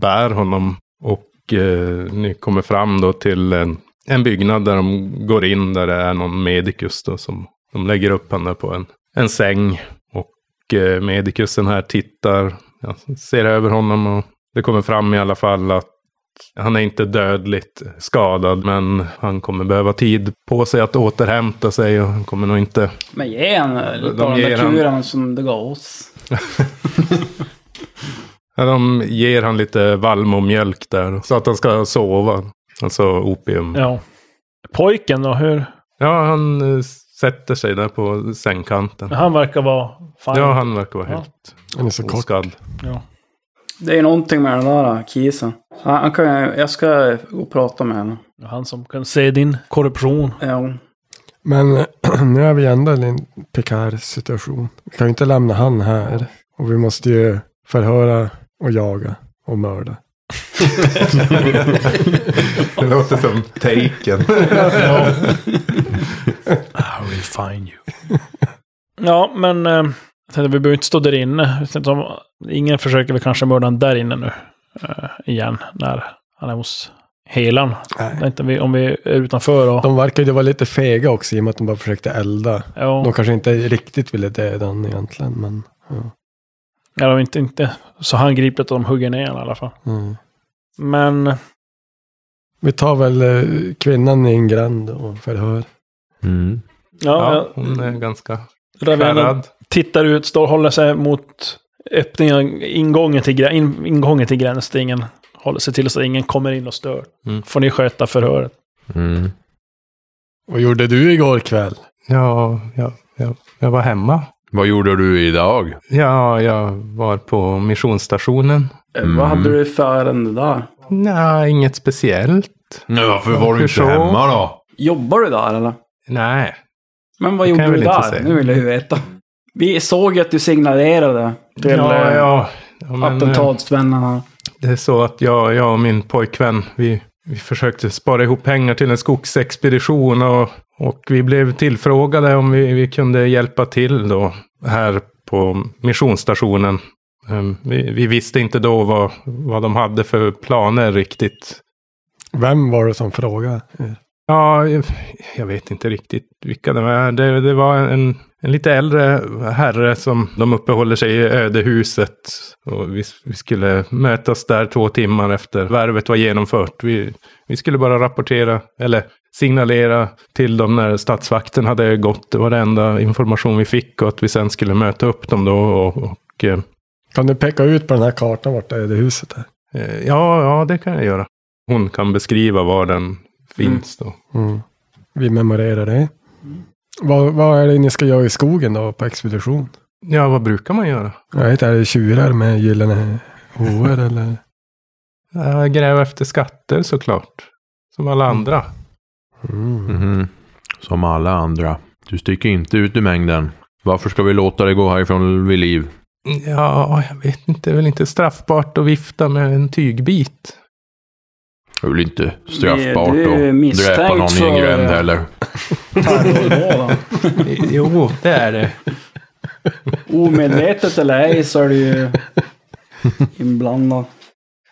Speaker 2: bär honom. Och eh, ni kommer fram då till en, en byggnad där de går in där det är någon medicus då som de lägger upp henne på en, en säng. Och eh, medicusen här tittar, ja, ser över honom och det kommer fram i alla fall att han är inte dödligt skadad men han kommer behöva tid på sig att återhämta sig och han kommer nog inte
Speaker 4: Men ge en eh,
Speaker 2: De
Speaker 4: lite av den
Speaker 2: ger
Speaker 4: där
Speaker 2: han-
Speaker 4: kuren som du gav oss.
Speaker 2: Ja, de ger han lite vallmomjölk där. Så att han ska sova. Alltså opium. Ja,
Speaker 3: Ja. Pojken då, hur?
Speaker 2: han eh, sätter sig där på sängkanten.
Speaker 3: Han verkar vara fine.
Speaker 2: Ja, han verkar vara
Speaker 3: Ja.
Speaker 2: helt
Speaker 6: Den är så kort.
Speaker 2: oskadd.
Speaker 4: Det är ju någonting med den där kisen. Han, han kan, jag ska gå och prata med henne.
Speaker 3: Han som kan se din korruption.
Speaker 4: Ja.
Speaker 6: Men nu är vi ändå i en prekär situation. Vi kan ju inte lämna han här. Och vi måste ju förhöra och jaga och mörda.
Speaker 2: Det låter som taken.
Speaker 3: I will find you. ja, men eh, jag tänkte, vi behöver inte stå där inne. Jag tänkte, om, ingen försöker väl kanske mörda honom där inne nu. eh, igen, när han är hos helan.
Speaker 6: Nej.
Speaker 3: Inte, vi- om vi är utanför och...
Speaker 6: De verkar ju vara lite fega också i och med att de bara försökte elda.
Speaker 3: ja,
Speaker 6: De kanske inte riktigt ville döda honom egentligen, men...
Speaker 3: ja, de är inte, inte så handgripligt att de hugger ner honom i alla fall.
Speaker 6: Mm.
Speaker 3: Men
Speaker 6: Vi tar väl eh, kvinnan i en gränd och förhör.
Speaker 7: Mm.
Speaker 2: Ja,
Speaker 3: ja, ja.
Speaker 2: hon är ganska
Speaker 3: Ravena
Speaker 2: skärrad.
Speaker 3: tittar ut, står och håller sig mot öppningen, ingången till, grä- in, ingången till gränsstingen. Håller sig till så att ingen kommer in och stör.
Speaker 2: Mm.
Speaker 3: Får ni sköta förhöret.
Speaker 7: Mm.
Speaker 6: Vad gjorde du igår kväll?
Speaker 2: Ja, ja, ja, jag var hemma.
Speaker 7: Vad gjorde du idag?
Speaker 2: Ja, jag var på missionsstationen.
Speaker 4: Eh, Vad
Speaker 2: Mm.
Speaker 4: hade du för ärende där?
Speaker 2: Nej, inget speciellt.
Speaker 7: Nej, varför var du
Speaker 2: Hur
Speaker 7: inte
Speaker 2: så?
Speaker 7: hemma då?
Speaker 4: Jobbar du där eller?
Speaker 2: Nej.
Speaker 4: Men vad
Speaker 2: Det kan
Speaker 4: gjorde
Speaker 2: jag
Speaker 4: du
Speaker 2: väl inte
Speaker 4: där?
Speaker 2: säga.
Speaker 4: Nu vill jag ju veta. Vi såg ju att du signalerade till
Speaker 2: ja,
Speaker 4: eh,
Speaker 2: ja. ja men, eh,
Speaker 4: attentatsvännarna.
Speaker 2: Det är så att jag, jag och min pojkvän, vi, vi försökte spara ihop pengar till en skogsexpedition och, och vi blev tillfrågade om vi, vi kunde hjälpa till då här på missionsstationen. Ehm, Vi, vi visste inte då vad, vad de hade för planer riktigt.
Speaker 6: Vem var det som frågade? er?
Speaker 2: Ja, jag- jag vet inte riktigt vilka de är. Det, det var en, en lite äldre herre som de uppehåller sig i ödehuset. Och vi, vi skulle mötas där två timmar efter värvet var genomfört. Vi, vi skulle bara rapportera, eller signalera till dem när statsvakten hade gått. Det var den enda information vi fick och att vi sen skulle möta upp dem då. Och, och, eh,
Speaker 6: Kan du peka ut på den här kartan vart ödehuset är?
Speaker 2: eh, ja, ja, det kan jag göra. Hon kan beskriva var den finns då.
Speaker 6: Mm. Vi memorerar det. Vad, vad är det ni ska göra i skogen då på expedition?
Speaker 2: Ja, vad brukar man göra?
Speaker 6: Jag vet inte, är det tjurar med gyllene hovar eller?
Speaker 2: Ja, gräva Eh, efter skatter såklart. Som alla andra.
Speaker 6: Mm.
Speaker 7: Mhm. Som alla andra. Du sticker inte ut i mängden. Varför ska vi låta dig gå härifrån vid liv?
Speaker 2: Ja, jag vet inte. Det är väl inte straffbart att vifta med en tygbit.
Speaker 7: Det är väl inte straffbart
Speaker 4: Du- du är
Speaker 7: att dräpa någon
Speaker 4: misstänkt
Speaker 7: i en
Speaker 4: för-
Speaker 7: gränd heller.
Speaker 4: Terrordåden.
Speaker 2: jo, det är det.
Speaker 4: Omedvetet eller ej så är du ju inblandad.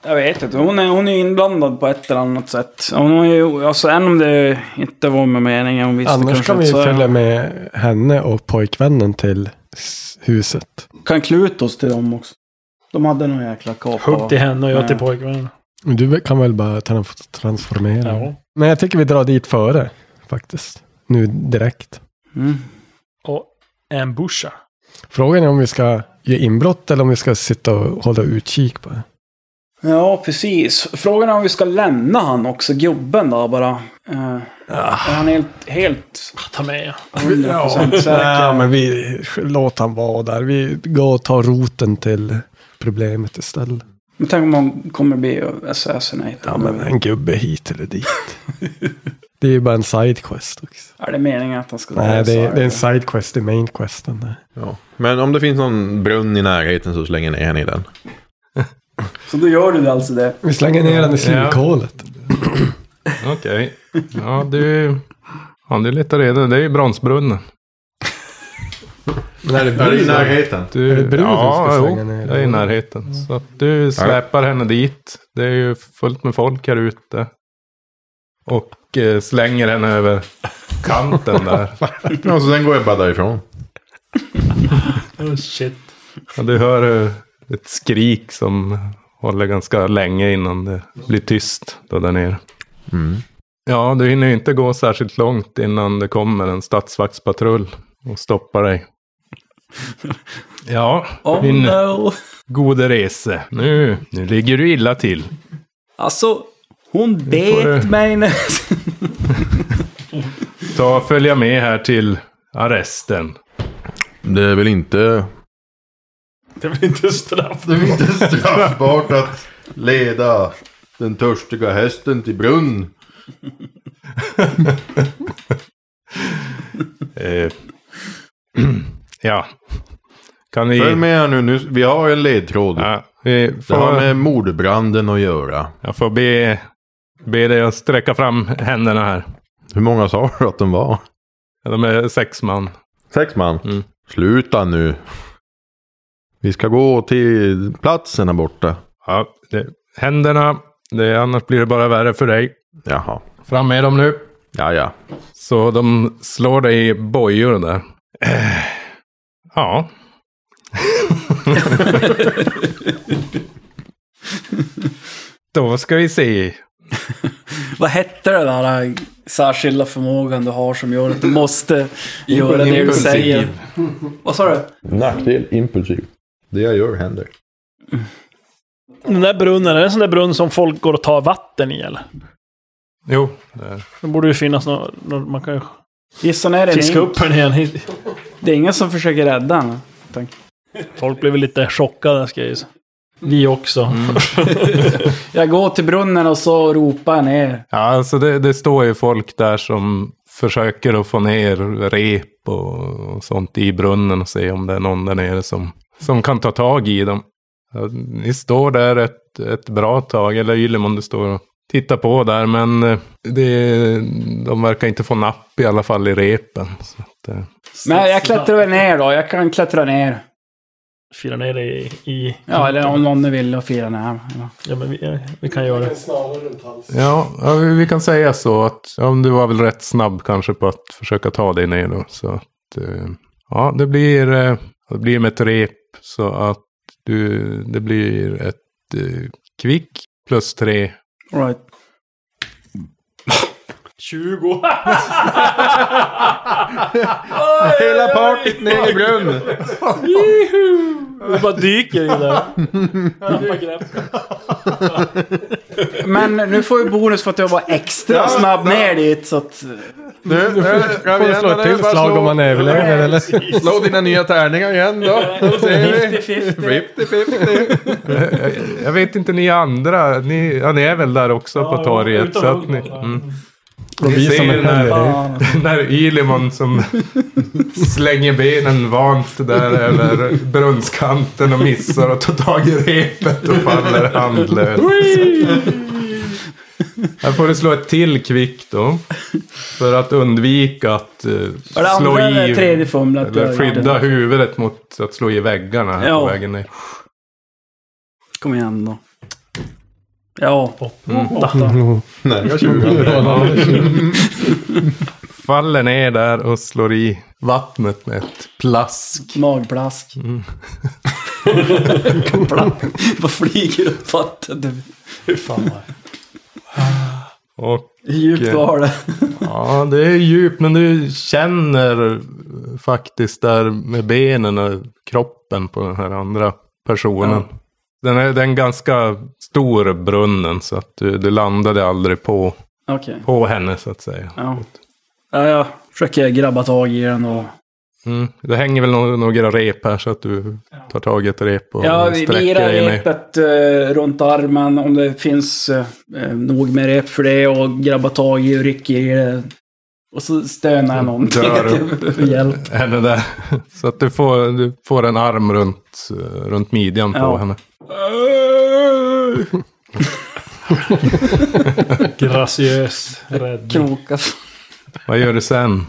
Speaker 4: Jag vet inte, hon är, hon är inblandad på ett eller annat sätt. Hon har ju, alltså än om det inte var med meningen, hon visste
Speaker 6: Annars
Speaker 4: kanske
Speaker 6: kan vi
Speaker 4: inte, så är-
Speaker 6: följa med henne och pojkvännen till s- huset.
Speaker 4: Kan kluta oss till dem också. De hade någon jäkla kapa.
Speaker 3: Hugg till henne och jag
Speaker 2: Mm.
Speaker 3: till
Speaker 4: Ja.
Speaker 3: pojkvännen.
Speaker 6: Du kan väl bara tra-
Speaker 2: Mm.
Speaker 6: transformera?
Speaker 3: Ja.
Speaker 6: Men jag tycker vi drar dit före faktiskt. Nu direkt.
Speaker 4: Mm.
Speaker 3: Och ambusha.
Speaker 6: Frågan är om vi ska ge inbrott eller om vi ska sitta och hålla utkik på det.
Speaker 4: Ja, precis. Frågan är om vi ska lämna han också, gubben då bara. Eh, Är han helt, helt
Speaker 3: Ta med.
Speaker 4: 100%
Speaker 6: Ah. Ja,
Speaker 4: säker?
Speaker 6: men vi låt han vara där. Vi går och tar roten till problemet istället.
Speaker 4: Men tänk om han kommer bli assassinated.
Speaker 6: Ja, men en gubbe hit eller dit. det är ju bara en sidequest också.
Speaker 4: Är det meningen att han ska
Speaker 6: Nej, det är, det är en
Speaker 4: en
Speaker 6: sidequest i mainquesten. där.
Speaker 7: Ja. Men om det finns någon brunn i närheten så slänger ner henne i den.
Speaker 4: Så då gör du alltså det?
Speaker 6: Vi slänger ner den i slukhålet.
Speaker 2: Okej. Ja, du... Ja, du letar reda. Det är ju bronsbrunnen.
Speaker 6: Men är det brun?
Speaker 7: närheten?
Speaker 2: Du,
Speaker 6: Är det bruden
Speaker 2: ja,
Speaker 6: som ska
Speaker 2: jo,
Speaker 6: slänga ner
Speaker 2: det är i
Speaker 6: den?
Speaker 2: närheten. Så att du släpar henne dit. Det är ju fullt med folk här ute. Och eh, slänger henne över kanten där.
Speaker 7: Ja, så sen går jag bara därifrån.
Speaker 3: Oh, shit.
Speaker 2: Ja, du hör eh, ett skrik som håller ganska länge innan det blir tyst då där nere.
Speaker 7: Mm.
Speaker 2: Ja, du hinner ju inte gå särskilt långt innan det kommer en statsvaktspatrull och stoppar dig. Ja,
Speaker 4: Oh
Speaker 2: min
Speaker 4: no.
Speaker 2: gode rese. Nu, nu ligger du illa till.
Speaker 4: Alltså, hon
Speaker 2: får
Speaker 4: bet
Speaker 2: du-
Speaker 4: mig nu.
Speaker 2: Ta och följa med här till arresten.
Speaker 7: Det är väl inte...
Speaker 3: Det blir inte straff.
Speaker 8: Det är inte straffbart att leda den törstiga hästen till brunn.
Speaker 2: Eh, ja, Kan ni...
Speaker 8: Följ med här nu, nu, vi har en ledtråd.
Speaker 2: Ja, vi
Speaker 8: Det har med
Speaker 2: får,
Speaker 8: mordbranden att göra.
Speaker 2: jag får be, be dig att sträcka fram händerna här.
Speaker 8: Hur många sa du att de var?
Speaker 2: De är sex man.
Speaker 8: Sex man?
Speaker 2: Mm.
Speaker 8: Sluta nu. Vi ska gå till platsen här borta.
Speaker 2: Ja, det, händerna, det, annars blir det bara värre för dig.
Speaker 8: Jaha.
Speaker 2: Fram med dem nu.
Speaker 8: Ja, ja.
Speaker 2: Så de slår dig i bojor där. Eh, Ja. Då ska vi se.
Speaker 4: Vad hette den där äh, särskilda förmågan du har som gör att du måste göra det du
Speaker 8: Impulsiv.
Speaker 4: säger? Vad sa du?
Speaker 8: Nackdel impulsiv. Det jag gör händer.
Speaker 3: Den där brunnen, är det en sån där brunn som folk går och tar vatten i eller?
Speaker 2: Jo, där.
Speaker 3: Då borde det finnas något, något man kan ju
Speaker 4: Gissa ner den.
Speaker 3: fiska upp den igen.
Speaker 4: Det är ingen som försöker rädda den. Tack.
Speaker 3: Folk blev väl lite chockade ska jag ju säga. Vi också.
Speaker 2: Mm.
Speaker 4: Jag går till brunnen och så ropar jag ner.
Speaker 2: Ja, alltså det, det står ju folk där som försöker att få ner rep och, och sånt i brunnen och se om det är någon där nere som, som kan ta tag i dem. Ja, ni står där ett, ett bra tag, eller Ylemon du står och tittar på där, men eh, det, de verkar inte få napp i alla fall i repen. Så att, eh,
Speaker 4: Men jag klättrar väl ner då. Jag kan klättra ner.
Speaker 3: Fira ner det i... i
Speaker 4: Ja, eller om någon nu vill och fira ner. Ja.
Speaker 3: Ja, men vi, ja, vi kan göra det.
Speaker 2: ja, ja, vi vi kan säga så att ja, men du var väl rätt snabb kanske på att försöka ta dig ner då. Så att, eh, ja, det blir, eh, det blir med ett rep så att du, det blir ett eh, kvick plus tre.
Speaker 4: All right.
Speaker 3: 20!
Speaker 8: Hela partyt ner i brunnen.
Speaker 3: Vi bara dyker i där. Tappar greppet.
Speaker 4: Men nu får vi bonus för att jag var extra snabb ner dit. Så att,
Speaker 8: Nu, nu ska
Speaker 6: Får
Speaker 8: vi
Speaker 6: du slå
Speaker 8: ändra
Speaker 6: ett
Speaker 8: det.
Speaker 6: till
Speaker 8: Bara
Speaker 6: slag
Speaker 8: slå-
Speaker 6: om man överlever eller?
Speaker 8: Slå dina nya tärningar igen då. Då ser vi.
Speaker 4: 50-50.
Speaker 8: 50-50.
Speaker 2: Jag vet inte ni andra, ni, ja, ni är väl där också
Speaker 3: Ja,
Speaker 2: på torget.
Speaker 3: utan
Speaker 2: Så att ni,
Speaker 3: ungdomar.
Speaker 2: mm.
Speaker 6: Och vi
Speaker 2: Ser
Speaker 6: som är
Speaker 2: den här-
Speaker 6: här.
Speaker 4: Fan.
Speaker 2: När Ylimon som slänger benen vant där över brunnskanten och missar och tar tag i repet och faller handlös. Här får du slå ett till kvick då. För att undvika att eh,
Speaker 4: Var det
Speaker 2: slå
Speaker 4: andra eller
Speaker 2: i...
Speaker 4: tredje fumlet du har
Speaker 2: Eller
Speaker 4: gjort?
Speaker 2: skydda huvudet mot att slå i väggarna här
Speaker 4: Ja.
Speaker 2: på vägen ner.
Speaker 4: Kom igen då. Ja.
Speaker 8: Nej, jag tjurar.
Speaker 2: Faller ner där och slår i vattnet med ett plask.
Speaker 4: Magplask.
Speaker 2: Mm.
Speaker 4: Plask. Vad flyger upp vattnet?
Speaker 2: Och
Speaker 4: Hur djupt var det?
Speaker 2: Ja, det är djupt, men du känner faktiskt där med benen och kroppen på den här andra personen. Den är, den är ganska stor brunnen, så att du, du landade aldrig på,
Speaker 4: Okej.
Speaker 2: på henne så att säga.
Speaker 4: Ja. ja, jag försöker grabba tag i den och...
Speaker 2: Mm. Det hänger väl några, några rep här så att du tar tag i ett rep och
Speaker 4: Ja, vi
Speaker 2: sträcker
Speaker 4: virar
Speaker 2: dig ner.
Speaker 4: repet eh, runt armen om det finns eh, eh, nog med rep för det och grabbar tag i och rycker i det. Och så stönar jag någonting
Speaker 2: Dör
Speaker 4: att jag behöver hjälp.
Speaker 2: Henne där. Så att du får, du får en arm runt, eh, runt midjan på
Speaker 4: Ja.
Speaker 2: henne.
Speaker 3: Graciös räddning.
Speaker 4: Krokas.
Speaker 2: Vad gör du sen?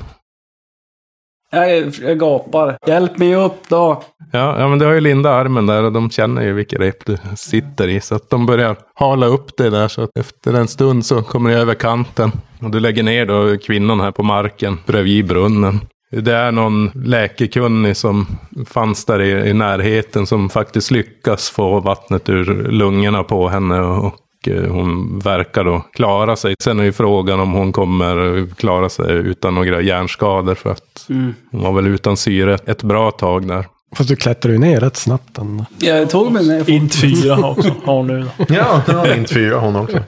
Speaker 4: Jag, jag gapar. Hjälp mig upp då.
Speaker 2: Ja, ja, men du har ju Linda armen där och de känner ju vilket rep du sitter i. Så att de börjar hala upp dig där. Så att efter en stund så kommer du över kanten. Och du lägger ner då kvinnan här på marken bredvid brunnen. Det är någon läkekunnig som fanns där i, i närheten som faktiskt lyckas få vattnet ur lungorna på henne. Och eh, hon verkar då klara sig. Sen är ju frågan om hon kommer klara sig utan några hjärnskador. För att hon var väl utan syre ett bra tag där.
Speaker 6: Fast du klättrar ju ner rätt snabbt ändå.
Speaker 4: Jag tog mig ner.
Speaker 3: Int 4 har också. Har nu då.
Speaker 8: Ja, den har inte fyra hon också.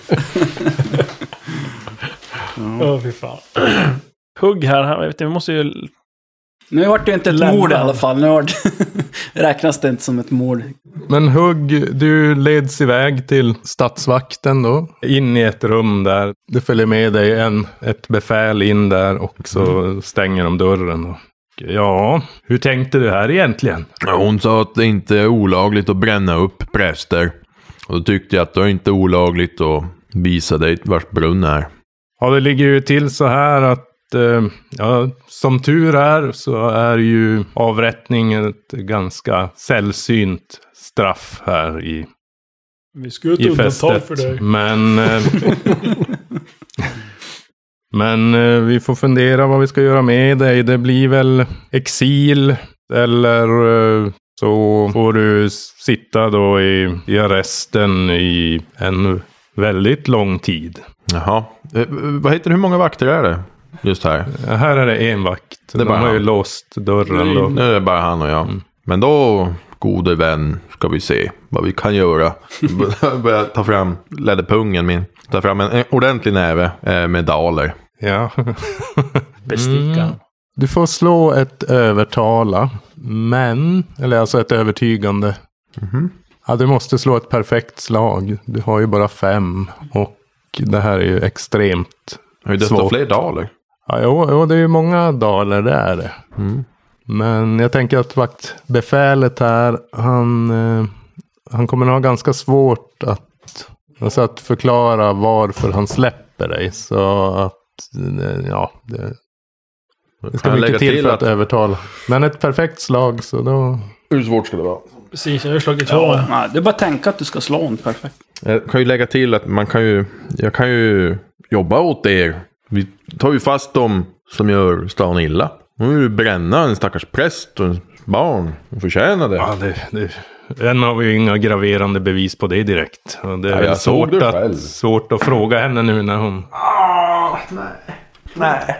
Speaker 2: Mm.
Speaker 3: Åh fy fan. Hugg här. Jag vet inte, vi måste ju...
Speaker 4: Nu vart det inte ett
Speaker 3: Lämna.
Speaker 4: mord i alla fall. Nu vart... räknas det inte som ett mord.
Speaker 2: Men Hugg, du leds iväg till statsvakten då. In i ett rum där. Det följer med dig en, ett befäl in där och så stänger de dörren. Då. ja, Mm. hur tänkte du här egentligen?
Speaker 7: Ja, Hon sa att det inte är olagligt att bränna upp präster. Och då tyckte jag att det är inte olagligt att visa dig vars brunn är.
Speaker 2: Ja, det ligger ju till så här att eh, ja, som tur är så är ju avrättning ett ganska sällsynt straff här i,
Speaker 9: Vi skulle
Speaker 2: i
Speaker 9: inte undantag
Speaker 2: fästet.
Speaker 9: för dig.
Speaker 2: Men, eh, men eh, vi får fundera vad vi ska göra med dig. Det blir väl exil eller eh, så får du s- sitta då i, i arresten i en väldigt lång tid.
Speaker 7: Jaha. Eh, vad heter det? Hur många vakter är det? Just här.
Speaker 2: Ja, Här är det en vakt.
Speaker 7: är
Speaker 2: De
Speaker 7: bara
Speaker 2: har ju
Speaker 7: han.
Speaker 2: låst dörren då.
Speaker 7: Nu är det bara han och jag.
Speaker 2: Mm.
Speaker 7: Men då, gode vän, ska vi se vad vi kan göra. Jag börjar ta fram läderpungen min. Ta fram en, en ordentlig näve eh, med daler.
Speaker 2: Ja.
Speaker 3: Bestickaren.
Speaker 2: Du får slå ett övertala. Men, eller alltså ett övertygande.
Speaker 7: Mhm.
Speaker 2: Ja, du måste slå ett perfekt slag. Du har ju bara fem. Och det här är ju extremt.
Speaker 7: Har ju desto
Speaker 2: Svårt.
Speaker 7: fler daler.
Speaker 2: Ja, jo, jo, det är ju många daler det är det.
Speaker 7: Mm.
Speaker 2: Men jag tänker att vaktbefälet här, han, eh, han kommer ha ganska svårt att, alltså att förklara varför han släpper dig. Så att, eh, ja, det, det ska
Speaker 7: Kan jag
Speaker 2: mycket
Speaker 7: lägga
Speaker 2: till, för att,
Speaker 7: att-
Speaker 2: övertala. Men ett perfekt slag så då...
Speaker 7: Hur svårt ska det vara?
Speaker 9: Precis, jag har ju slagit två.
Speaker 4: Ja, nej, det är bara att tänka att du ska slå honom. Perfekt.
Speaker 7: Jag Eh, kan ju lägga till att man kan ju, jag kan ju jobba åt er. Vi tar ju fast dem som gör stan illa. De vill ju bränna en stackars präst och ens barn. De förtjänar det.
Speaker 2: Ja, det, det, än har vi ju inga graverande bevis på det direkt. Och det är
Speaker 7: Ja,
Speaker 2: väl
Speaker 7: jag såg
Speaker 2: svårt
Speaker 7: det själv.
Speaker 2: att, svårt att fråga henne nu när hon...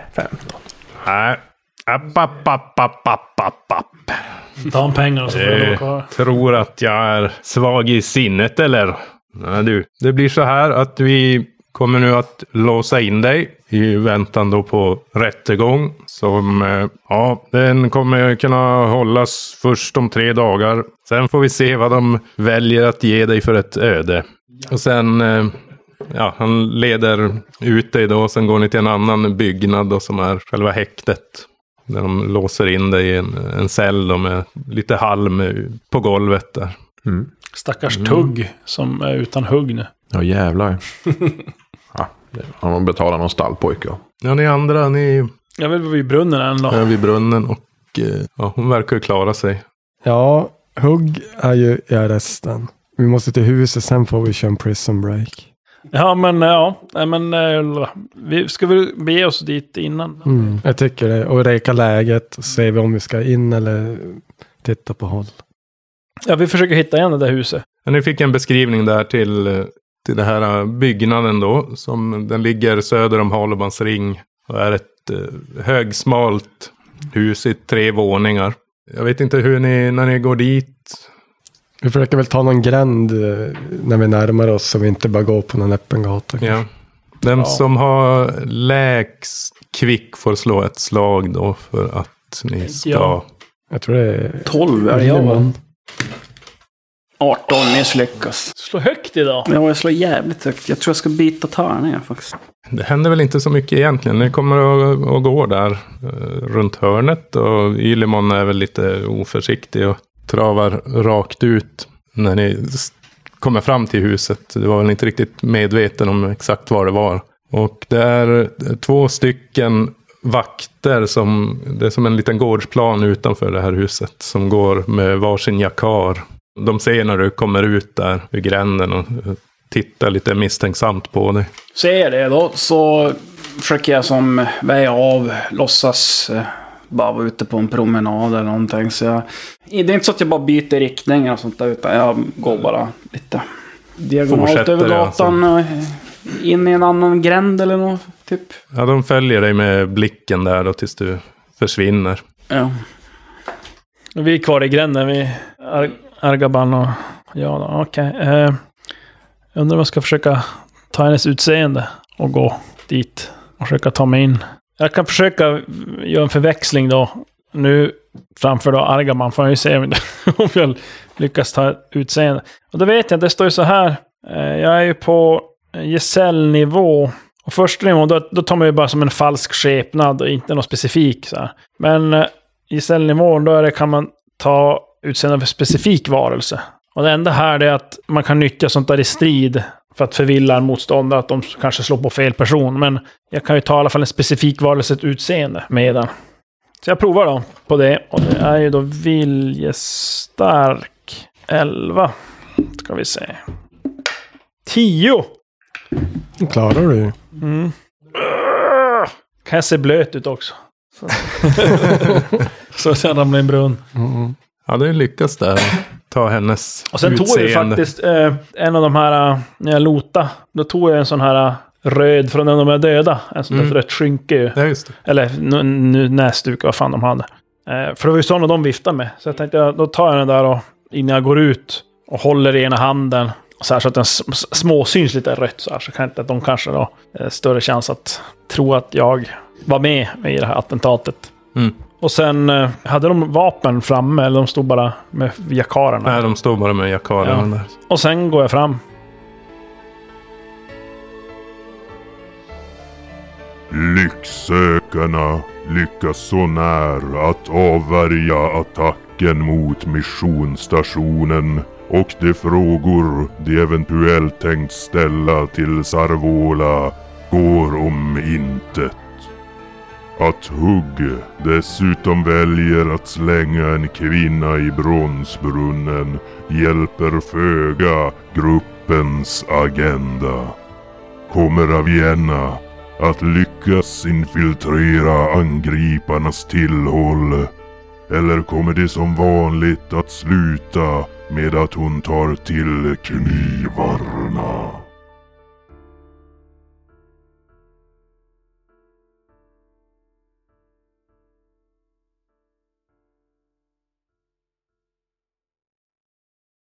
Speaker 2: nej. Nej. 15. Nej. App, app, app, app, app, app, app.
Speaker 9: Ta en pengar och så får jag låna kvar.
Speaker 2: Eh, tror att jag är svag i sinnet eller? Nej du, det blir så här att vi kommer nu att låsa in dig i väntan då på rättegång. Som, eh, ja, den kommer kunna hållas först om tre dagar. Sen får vi se vad de väljer att ge dig för ett öde. Och sen, eh, ja, han leder ut dig då. Sen går ni till en annan byggnad då som är själva häktet. När de låser in dig i en, en cell då med lite halm på golvet där.
Speaker 3: Stackars
Speaker 2: Mm.
Speaker 3: Tugg som är utan hugg nu.
Speaker 7: Ja jävlar. ja, det, om man betalar någon stallpojke. ja.
Speaker 2: Ja, ni andra, ni
Speaker 3: Jag vill vara vid brunnen en dag.
Speaker 2: är vid brunnen och eh, ja, hon verkar ju klara sig.
Speaker 6: Ja, hugg är ju i arresten. Vi måste till huset, sen får vi köra en prison break.
Speaker 3: Ja, men ja. Nej, men eh, vi ska väl bege oss dit innan.
Speaker 6: Mm. Jag tycker det. Och reka läget, och se om vi ska in eller titta på håll.
Speaker 3: Ja, vi försöker hitta igen det där huset.
Speaker 2: Ja, ni fick en beskrivning där till, eh, till den här byggnaden då. Som, den ligger söder om Halobans ring. Och är ett eh, högsmalt hus i tre våningar. Jag vet inte hur ni, när ni går dit,
Speaker 6: Vi försöker väl ta någon gränd eh, när vi närmar oss så vi inte bara går på någon öppen gata.
Speaker 2: Ja. Den
Speaker 3: Ja.
Speaker 2: som har lägst kvick får slå ett slag då för att ni ska...
Speaker 3: Ja.
Speaker 6: Jag tror det är...
Speaker 4: 12 är jag. va?
Speaker 6: Riemann.
Speaker 4: 18 misslyckas.
Speaker 3: Slå högt idag.
Speaker 4: Ja, jag slår jävligt högt. Jag tror jag ska byta tärningar faktiskt.
Speaker 2: Det händer väl inte så mycket egentligen. Ni kommer att, att gå där eh, runt hörnet och Ylimon är väl lite oförsiktig och travar rakt ut när ni s- kommer fram till huset. Du var väl inte riktigt medveten om exakt var det var. Och det är eh, två stycken vakter som, det är som en liten gårdsplan utanför det här huset som går med varsin jakar. De ser när du kommer ut där vid gränden och eh, tittar lite misstänksamt på dig.
Speaker 4: Ser jag det då så försöker jag som väja av, låtsas eh, bara vara ute på en promenad eller någonting. Så jag, det är inte så att jag bara byter riktning eller sånt där, utan jag går bara lite diagonalt
Speaker 2: Fortsätter
Speaker 4: över
Speaker 2: det, alltså.
Speaker 4: gatan. eh, In i en annan gränd eller något, typ.
Speaker 2: Ja, de följer dig med blicken där då tills du försvinner.
Speaker 4: Ja.
Speaker 3: Vi är kvar i gränden, vi Ar Argaban och ja, då, okej. Eh, jag undrar om jag ska försöka ta hennes utseende och gå dit och försöka ta mig in. Jag kan försöka göra en förväxling då. Nu framför då Argaban får jag ju se om om jag lyckas ta utseende. Och då vet jag, det står ju så här. Eh, jag är ju på gesällnivå. Och första nivån, då, då tar man ju bara som en falsk skepnad och inte något specifikt. Så här. Men eh, i cellnivån, då är det, kan man ta utseende för specifik varelse. Och det enda här är att man kan nyttja sånt där i strid för att förvilla en motståndare, att de kanske slår på fel person. Men jag kan ju ta i alla fall en specifik varelses utseende med den. Så jag provar då på det. Och det är ju då viljestark 11. Ska vi se. 10!
Speaker 6: Den klarar du ju.
Speaker 3: Mm. Kan jag se blöt ut också? Så- Så att jag ramlar i en brunn.
Speaker 6: Mm.
Speaker 2: Ja, det lyckas där. Ta hennes
Speaker 3: Och sen tog jag ju
Speaker 2: utseende.
Speaker 3: faktiskt eh, en av de här, eh, när jag lota, då tog jag en sån här eh, röd från en av de är döda. En sån
Speaker 2: Mm.
Speaker 3: där rött skynke ju.
Speaker 2: Ja, just det.
Speaker 3: Eller nu, nu näsduk, vad fan de hade. Eh, för det var ju sådana de viftade med. Så jag tänkte, ja, då tar jag den där och, innan jag går ut och håller i ena handen. Så här så att den s- s- småsyns lite rött så här. Så kan inte de kanske då eh, större chans att tro att jag var med i det här attentatet.
Speaker 2: Mm.
Speaker 3: Och sen eh, hade de vapen framme, eller de stod bara med jakarerna.
Speaker 2: Nej, de står bara med jackarerna där.
Speaker 3: Och sen går jag fram.
Speaker 1: Lycksökarna lyckas så när att avvärja attacken mot missionsstationen och de frågor de eventuellt tänkt ställa till Sarvola går om intet. Att Hugg dessutom väljer att slänga en kvinna i bronsbrunnen hjälper föga gruppens agenda. Kommer Avienna att lyckas infiltrera angriparnas tillhåll? Eller kommer det som vanligt att sluta med att hon tar till knivarna?